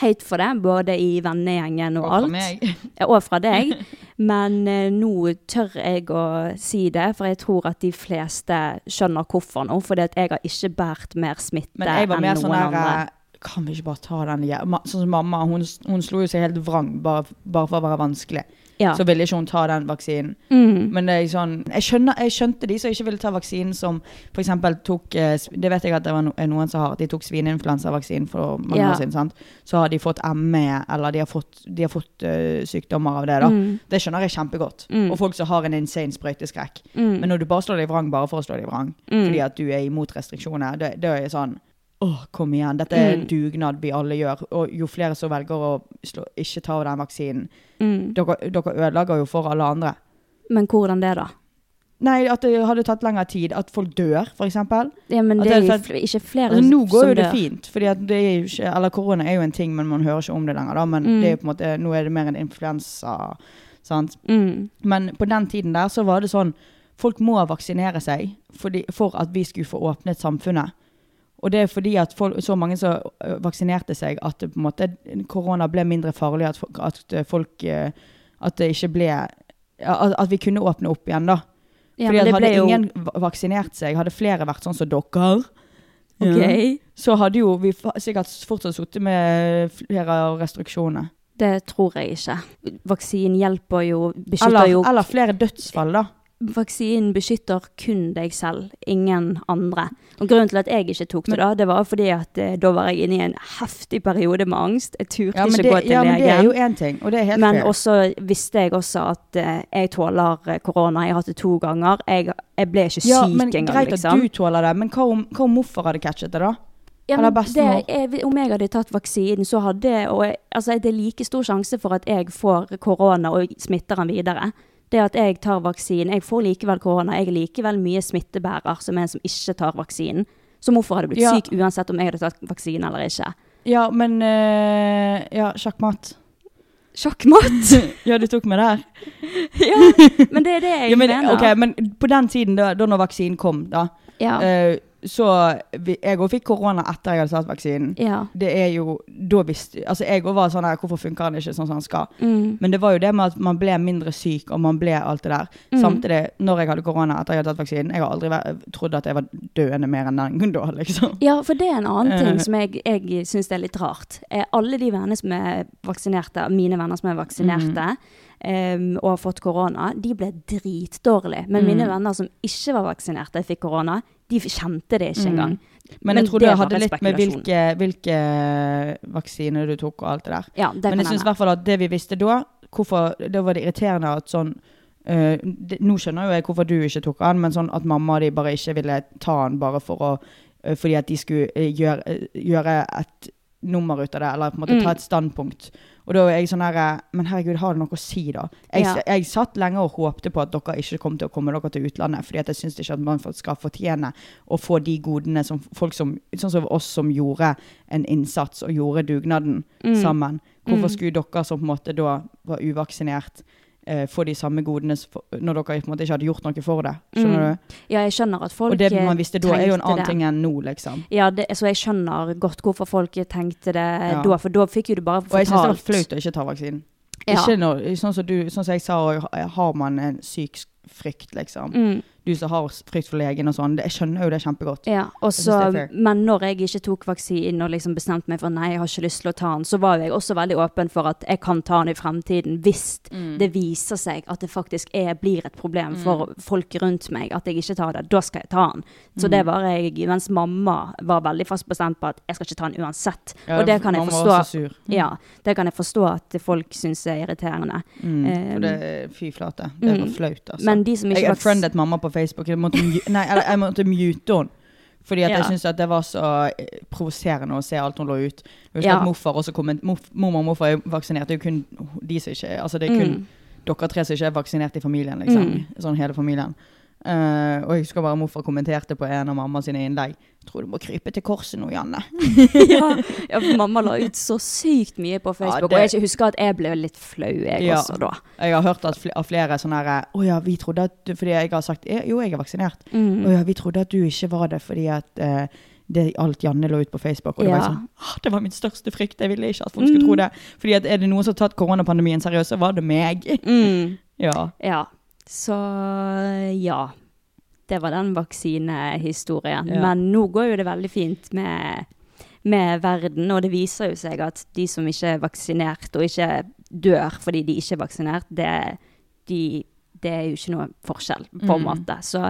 hate for det, både i vennegjengen og, Og fra alt. meg. Ja, Og fra deg. Men eh, nå tør jeg å si det, for jeg tror at de fleste skjønner hvorfor nå. Fordi at jeg har ikke båret mer smitte Men jeg var enn mer noen sånn der andre. eh, Kan vi ikke bare ta den jæv- Ma- Sånn som mamma, hun, hun slo jo seg helt vrang bare, bare for å være vanskelig. Ja. eh, Så ville ikke hun ta den vaksinen. Mm. Men det er sånn, jeg, skjønner, jeg skjønte de som ikke ville ta vaksinen som for eksempel tok eh, sv- Det vet jeg at det var no- er noen som har. De tok svineinfluensavaksinen for mange Ja. år siden. sant? Så har de fått ME, eller de har fått, de har fått eh, sykdommer av det. da. Det skjønner jeg kjempegodt. Mm. Og folk som har en insane sprøyteskrekk. Mm. Men når du bare slår deg vrang bare for å slå deg vrang, Mm. fordi at du er imot restriksjoner, det, det er sånn Åh, kom igjen. Dette er Mm. dugnad vi alle gjør. Og jo flere som velger å slå, ikke ta den vaksinen Mm. dere, dere ødelegger jo for alle andre. Men hvordan det, da? Nei, at det hadde tatt lengre tid. At folk dør, f.eks. Altså, Ja, men At det er det er jo sant- fl- ikke flere nå går som jo det dør. fint. Fordi at det er jo ikke, eller korona er jo en ting, men man hører ikke om det lenger. da, Men Mm. det er jo på en måte, nå er det mer en influensa. sant? Mm. Men på den tiden der så var det sånn Folk må vaksinere seg fordi, for at vi skulle få åpnet samfunnet. Og det er fordi at folk, så mange som øh, vaksinerte seg at det på en måte korona ble mindre farlig, at, folk- at folk øh, At det ikke ble At, at vi kunne åpne opp igjen, da. Ja, Fordi men at det hadde ble jo ingen va- vaksinert seg, hadde flere vært sånn som dere, OK. så hadde jo vi fa- sikkert fortsatt sittet med flere av restriksjonene. Det tror jeg ikke. Vaksinen hjelper jo, beskytter Eller, jo eller flere dødsfall, da. vaksinen beskytter kun deg selv, ingen andre. Og Grunnen til at jeg ikke tok det, da, det var fordi at eh, da var jeg inne i en heftig periode med angst. Jeg turte Ja, men ikke det, gå til ja, men det er jo legen. én ting, og det er helt Men fair. også visste jeg også at eh, jeg tåler eh, korona. Jeg har hatt det to ganger. Jeg, jeg ble ikke syk Ja, men engang, greit liksom. at du tåler det, men hva om, hva om morfar hadde catchet det, da? Ja, Eller men bestemor. det er- om jeg hadde tatt vaksinen, så hadde og jeg, altså, Det er like stor sjanse for at jeg får korona og smitter den videre. Det at jeg tar vaksinen Jeg får likevel korona. Jeg er likevel mye smittebærer som en som ikke tar vaksinen. Så morfar hadde blitt Ja. syk uansett om jeg hadde tatt vaksinen eller ikke. Ja, men eh, Ja, sjakkmatt. Sjakkmatt! Ja, du tok meg der. ja, men det er det jeg Ja, men, mener. ok, men på den tiden, da, da når vaksinen kom, da, Ja. eh, så vi, Jeg òg fikk korona etter jeg hadde tatt vaksinen. ja. det er jo da visste, altså Jeg òg var sånn her, hvorfor funker den ikke sånn som den skal? Mm. Men det var jo det med at man ble mindre syk, og man ble alt det der. Mm. Samtidig, når jeg hadde korona etter jeg hadde tatt vaksinen, jeg har aldri vært, trodd at jeg var døende mer enn den gangen da, liksom. Ja, for det er en annen ting Eh. som jeg, jeg syns er litt rart. Eh, alle de vennene som er vaksinerte, mine venner som er vaksinerte Mm. em, og har fått korona, de ble dritdårlige. Men mine venner som ikke var vaksinerte, fikk korona. De f- kjente det Mm. ikke engang. Men, jeg tror det, hadde litt med hvilke, hvilke vaksiner du tok og alt det der. Ja, det kan Men jeg syns i hende. hvert fall at det vi visste da, hvorfor, da var det irriterende at sånn eh, det, Nå skjønner jo jeg hvorfor du ikke tok den, men sånn at mamma og de bare ikke ville ta den bare for å eh, Fordi at de skulle eh, gjøre, eh, gjøre et nummer ut av det, eller på en måte Mm. ta et standpunkt. Og da er jeg sånn her eh, Men herregud, har det noe å si, da? Jeg, Ja. jeg satt lenge og håpte på at dere ikke kom til å komme dere til utlandet, fordi at jeg syns ikke at man skal fortjene å få de godene som folk som Sånn som oss som gjorde en innsats og gjorde dugnaden Mm. sammen. Hvorfor Mm. skulle dere som på en måte da var uvaksinert, eh, få de samme godene s- for- når dere på en måte ikke hadde gjort noe for det? Skjønner Mm. du? Ja, jeg skjønner at folk Og det eh, man visste da, er jo en trengte annen det. ting enn nå, liksom. Ja, det, så jeg skjønner godt hvorfor folk tenkte det Ja. da, for da fikk jo du bare Og jeg syns det var fortalt. flaut å ikke ta vaksinen. Ja. Ikke når, sånn, som du, sånn som jeg sa, og har man en syk frykt, liksom. Mm. Du som har s- frykt for legen og sånn. det- Jeg skjønner jo det kjempegodt. Ja, og synes det er så, fair. men når jeg ikke tok vaksinen og liksom bestemte meg for nei, jeg har ikke lyst til å ta den, så var jo jeg også veldig åpen for at jeg kan ta den i fremtiden hvis Mm. det viser seg at det faktisk er, blir et problem for folk rundt meg at jeg ikke tar det. Da skal jeg ta den. Så Mm. det var jeg, mens mamma var veldig fast bestemt på at jeg skal ikke ta den uansett. Ja, og det kan jeg mamma var forstå. også sur. Ja, det kan jeg forstå at folk syns er irriterende. Mm. Eh, og det, fy flate. Det var mm. flaut, altså. Men de som ikke Jeg vaks- unfriendet mamma på Facebook. Jeg måtte, mu- nei, eller jeg måtte mute henne. Fordi at Ja. jeg syntes at det var så eh, provoserende å se alt hun lå ut. Jeg husker Ja. at morfar også komment, morf, Mormor og morfar er jo vaksinert. Det er jo kun de som ikke er Altså det er Mm. kun dere tre som ikke er vaksinert i familien, liksom. Mm. Sånn hele familien. Eh, og jeg husker bare morfar kommenterte på en av mamma sine innlegg. Jeg tror du må krype til korset nå, Janne. ja, ja, for mamma la ut så sykt mye på Facebook, det- og jeg ikke husker at jeg ble litt flau jeg Ja. også da. Jeg har hørt at fl av flere sånne her Å ja, vi trodde at du Fordi jeg har sagt «Eh, jo, jeg er vaksinert. Mm. Å ja, vi trodde at du ikke var det fordi at eh, det alt Janne lå ut på Facebook. Og det Ja. var sånn «Ah, Det var min største frykt. Jeg ville ikke at folk skulle tro det. Fordi at er det noen som har tatt koronapandemien seriøst, så var det meg. Mm. Ja. Ja, så ja. Det var den vaksinehistorien. Ja. Men nå går jo det veldig fint med, med verden, og det viser jo seg at de som ikke er vaksinert, og ikke dør fordi de ikke er vaksinert, det, de, det er jo ikke noe forskjell, på en måte. Så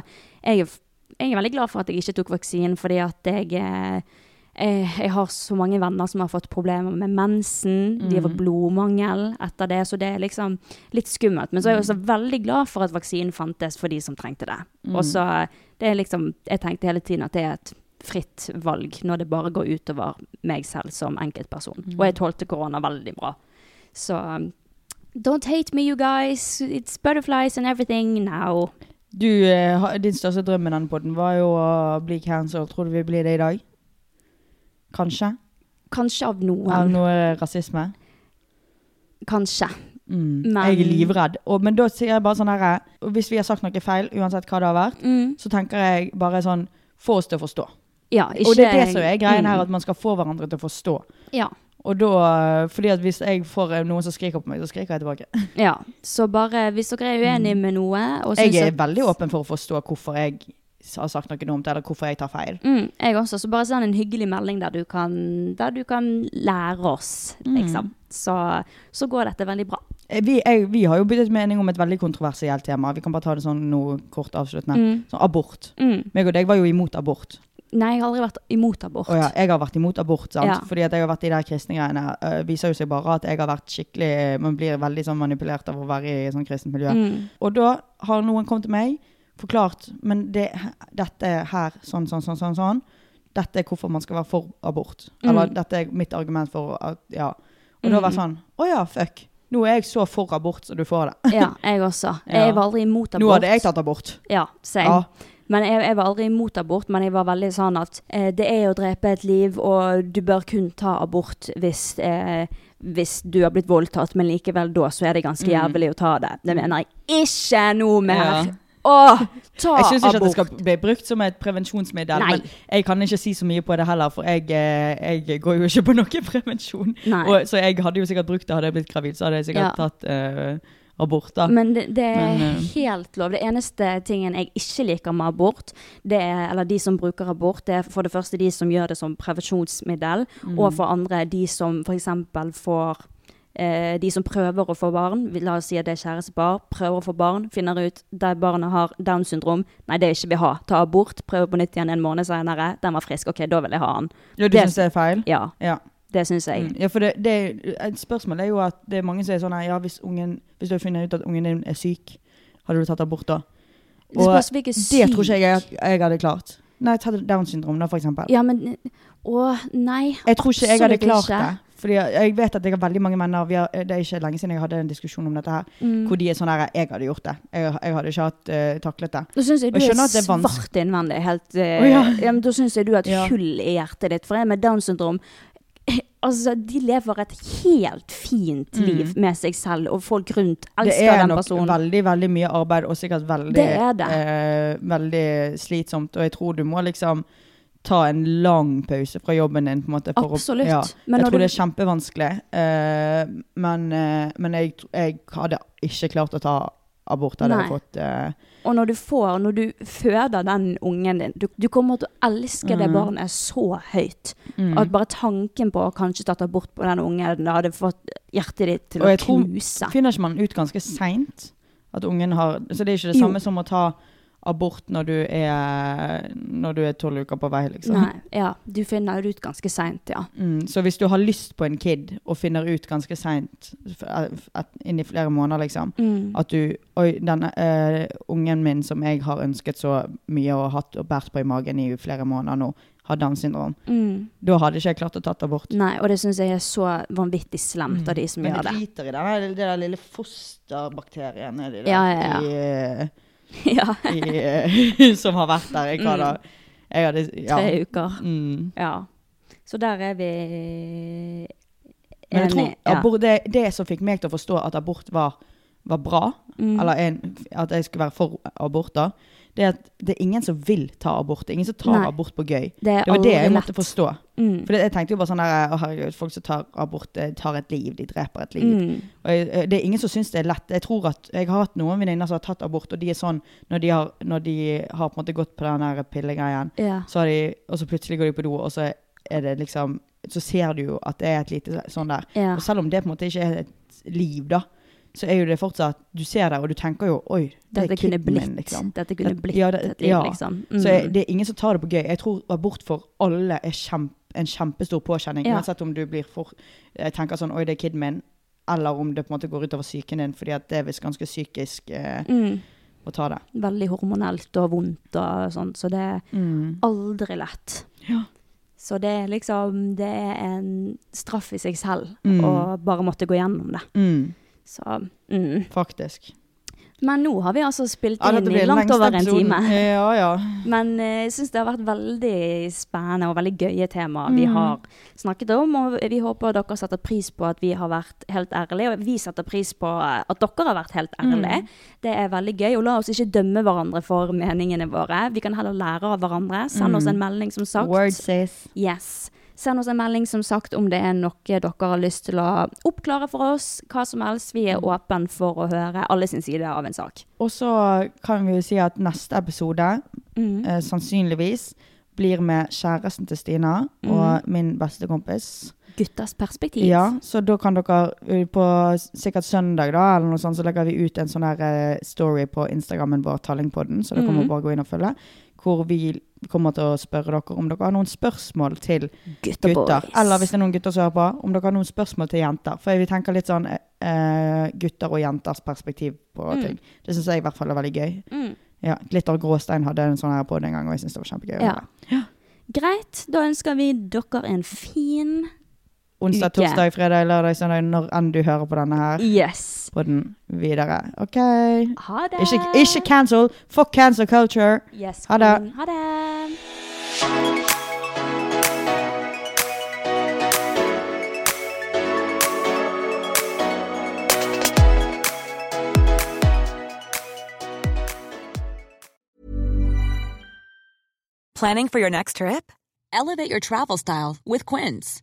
jeg, er f- jeg er veldig glad for at jeg ikke tok vaksinen, fordi at jeg eh, eh, jeg har så mange venner som har fått problemer med mensen. De har fått blodmangel etter det, så det er liksom litt skummelt. Men så Mm. er jeg også veldig glad for at vaksinen fantes for de som trengte det. Mm. Og så det er liksom Jeg tenkte hele tiden at det er et fritt valg når det bare går utover meg selv som enkeltperson. Mm. Og jeg tålte korona veldig bra. Så um, Don't hate me, you guys. It's butterflies and everything now. Du, eh, ha- din største drøm med denne podden var jo å bli cancelled. Tror du vi blir det i dag? Kanskje? Kanskje av Av noen. noe rasisme? Kanskje. Mm. Men- Jeg er livredd. Og, men da sier jeg bare sånn her og Hvis vi har sagt noe feil, uansett hva det har vært, Mm. så tenker jeg bare sånn Få oss til å forstå. Ja, ikke og det er det som er greien her, Mm. at man skal få hverandre til å forstå. Ja. Og da, fordi at hvis jeg får eh, noen som skriker på meg, så skriker jeg tilbake. Ja, så bare hvis dere er uenige med noe og syns Mm. Jeg er at- veldig åpen for å forstå hvorfor jeg s- har sagt noe dumt, eller hvorfor jeg tar feil. Mm, jeg også, så bare send en hyggelig melding der du kan, der du kan lære oss, Mm. liksom. Så, så går dette veldig bra. Eh, Vi, jeg, vi har jo byttet mening om et veldig kontroversielt tema. Vi kan bare ta det sånn noe kort avsluttende. Sånn abort. Mm. Meg og deg var jo imot abort. Nei, jeg har aldri vært imot abort. Å ja, jeg har vært imot abort, sant? Ja. fordi at jeg har vært i de kristne greiene. øh, viser jo seg bare at jeg har vært skikkelig Man blir veldig sånn manipulert av å være i sånn kristent miljø. Mm. Og da har noen kommet til meg, forklart Men det, dette her, sånn, sånn, sånn, sånn, sånn Dette er hvorfor man skal være for abort. Eller Mm. dette er mitt argument for at Ja. Og da var det sånn Å ja, fuck. Nå er jeg så for abort som du får det. Ja, jeg også. Ja. Jeg var aldri imot abort. Nå hadde jeg tatt abort. Ja, same. Ja. Men jeg, jeg var aldri imot abort, men jeg var veldig sånn at eh, det er å drepe et liv, og du bør kun ta abort hvis, eh, hvis du har blitt voldtatt, men likevel da så er det ganske jævlig å ta det. Det mener jeg ikke noe mer. Mm. Ja. Åh, ta Jeg syns abort. ikke at det skal bli brukt som et prevensjonsmiddel. Nei. Men jeg kan ikke si så mye på det heller, for jeg, eh, jeg går jo ikke på noe prevensjon. Nei. Og, så jeg hadde jo sikkert brukt det hadde jeg blitt gravid. Så hadde jeg sikkert Ja. tatt eh, abort, da. Men det, det er Men, eh, helt lov. Det eneste tingen jeg ikke liker med abort, det er, eller de som bruker abort, det er for det første de som gjør det som prevensjonsmiddel, Mm. og for andre de som f.eks. får eh, de som prøver å få barn, vi- la oss si at det er kjærestepar, prøver å få barn, finner ut at barnet har Down syndrom. Nei, det er ikke vi ha. Ta abort, prøve på nytt igjen en måned senere. Den var frisk, OK, da vil jeg ha den. ja, du det- syns det er feil? Ja, Ja. det syns jeg. Mm. ja for det, det, et spørsmål er jo at det er mange som er sånn her, ja, hvis, ungen, hvis du har funnet ut at ungen din er syk, hadde du tatt abort da? Det spørs hvilken det tror ikke jeg syk. jeg hadde klart. Nei, ta Downs syndrom, da, for eksempel. Ja, men Å, nei. Jeg tror ikke jeg hadde absolutt klart ikke. det. Fordi jeg- jeg vet at jeg har veldig mange venner vi har, eh, Det er ikke lenge siden jeg hadde en diskusjon om dette her. Mm. Hvor de er sånn her Jeg hadde gjort det. Jeg, jeg hadde ikke hatt eh, taklet det. Da syns jeg du Og jeg er, skjønner at det er vans- svart innvendig. Helt, eh, Å, ja. ja. men da syns jeg du har et Ja. hull i hjertet ditt. For jeg med Downs syndrom Altså, De lever et helt fint liv med seg selv, og folk rundt Mm. Det elsker er den nok personen. veldig, veldig mye arbeid og sikkert veldig, Det er det. eh, veldig slitsomt. Og jeg tror du må liksom ta en lang pause fra jobben din. på en måte. For Absolutt. Å, ja. Men Jeg når tror du- det er kjempevanskelig. eh, men eh, men jeg, jeg hadde ikke klart å ta abort. Hadde jeg Nei. fått eh, Og når du får, når du føder den ungen din Du, du kommer til å elske Mm. det barnet så høyt. At bare tanken på å kanskje tatt abort på den ungen, det hadde fått hjertet ditt til Og å jeg tror- knuse. Finner ikke man ut ganske seint at ungen har Så det er ikke det Jo. samme som å ta abort når du er Når du er tolv uker på vei, liksom. Nei, ja, du finner det ut ganske seint, ja. Mm, så hvis du har lyst på en kid og finner ut ganske eh, seint, inni flere måneder, liksom, Mm. at du Oi, denne eh, ungen min som jeg har ønsket så mye og hatt og båret på i magen i flere måneder nå, har Downs syndrom. Mm. Da hadde ikke jeg klart å tatt abort. Nei, og det syns jeg er så vanvittig slemt av de som Mm. Men gjør de det. driter i den der lille fosterbakterien nedi der. Ja, ja, ja. I, eh, Ja. i, eh, som har vært der. Jeg, hadde, jeg hadde ja. Tre uker. Mm. Ja. Så der er vi Men jeg tror enige. Ja. abort, det, det som fikk meg til å forstå at abort var, var bra, Mm. eller en, at jeg skulle være for abort, da, det er at det er ingen som vil ta abort. Det er ingen som tar Nei. abort på gøy. Det er Det var det jeg aldri måtte lett. forstå. Mm. For det, jeg tenkte jo bare sånn der, å herregud, folk som tar abort, eh, tar et liv, de dreper et liv. Mm. Og jeg, jeg- det er ingen som syns det er lett. Jeg tror at jeg har hatt noen venninner som har tatt abort, og de er sånn når de har, når de har på en måte gått på den der pillegreien, Ja. så har de, og så plutselig går de på do, og så er det liksom Så ser du jo at det er et lite sånn der. ja. Og selv om det på en måte ikke er et liv, da, så er jo det fortsatt Du ser det, og du tenker jo Oi, det er Dette kunne kiden blitt, min, liksom. dette kunne Det- blitt ja, det- et liv, ja. liksom. Så jeg, Mm. det er ingen som tar det på gøy. Jeg tror abort for alle er kjemp, en kjempestor påkjenning. Ja. Uansett om du blir for, jeg tenker sånn Oi, det er kiden min. Eller om det på en måte går utover psyken din, fordi at det er visst ganske psykisk eh, mm. å ta det. Veldig hormonelt og vondt og sånn, så det er aldri lett. Ja. Så det er liksom Det er en straff i seg selv Mm. å bare måtte gå gjennom det. Mm, Så mm. faktisk. Men nå har vi altså spilt Ja, dette inn blir i den langt lengste over en episoden. time. Eh, Ja, ja. Men eh, jeg syns det har vært veldig spennende og veldig gøye temaer Mm. vi har snakket om. Og vi håper dere setter pris på at vi har vært helt ærlige, og vi setter pris på eh, at dere har vært helt ærlige. Mm. Det er veldig gøy. Og la oss ikke dømme hverandre for meningene våre. Vi kan heller lære av hverandre. Send Mm. oss en melding, som sagt. Word says. Yes. Send oss en melding som sagt om det er noe dere har lyst til å oppklare for oss. Hva som helst. Vi Mm. er åpen for å høre alle sin side av en sak. Og så kan vi jo si at neste episode Mm. eh, sannsynligvis blir med kjæresten til Stina og min beste kompis. Guttas perspektiv. Ja, så da kan dere eh, på s- sikkert søndag da, eller noe sånt, så legger vi ut en sånn her eh, story på Instagrammen vår, Tallingpodden, så dere må Mhm. bare gå inn og følge, hvor vi kommer til å spørre dere om dere har noen spørsmål til Gutta gutter, boys. eller hvis det er noen gutter som hører på, om dere har noen spørsmål til jenter, for vi tenker litt sånn eh, eh, gutter og jenters perspektiv på Mm. ting. Det synes jeg i hvert fall er veldig gøy. mm. Ja, Glitter og Gråstein hadde en sånn her på den gang, og jeg synes det var kjempegøy. å Ja. høre. Greit, da ønsker vi dere en fin Onsdag, Uke. torsdag, fredag, lørdag, søndag, når enn du hører på denne her. Yes. på den videre. OK. Ha det. Ikke, ikke cancel. Fuck cancel culture. Yes, Ha det. queen. Ha det. Planning for your next trip? Elevate your travel style with Quince.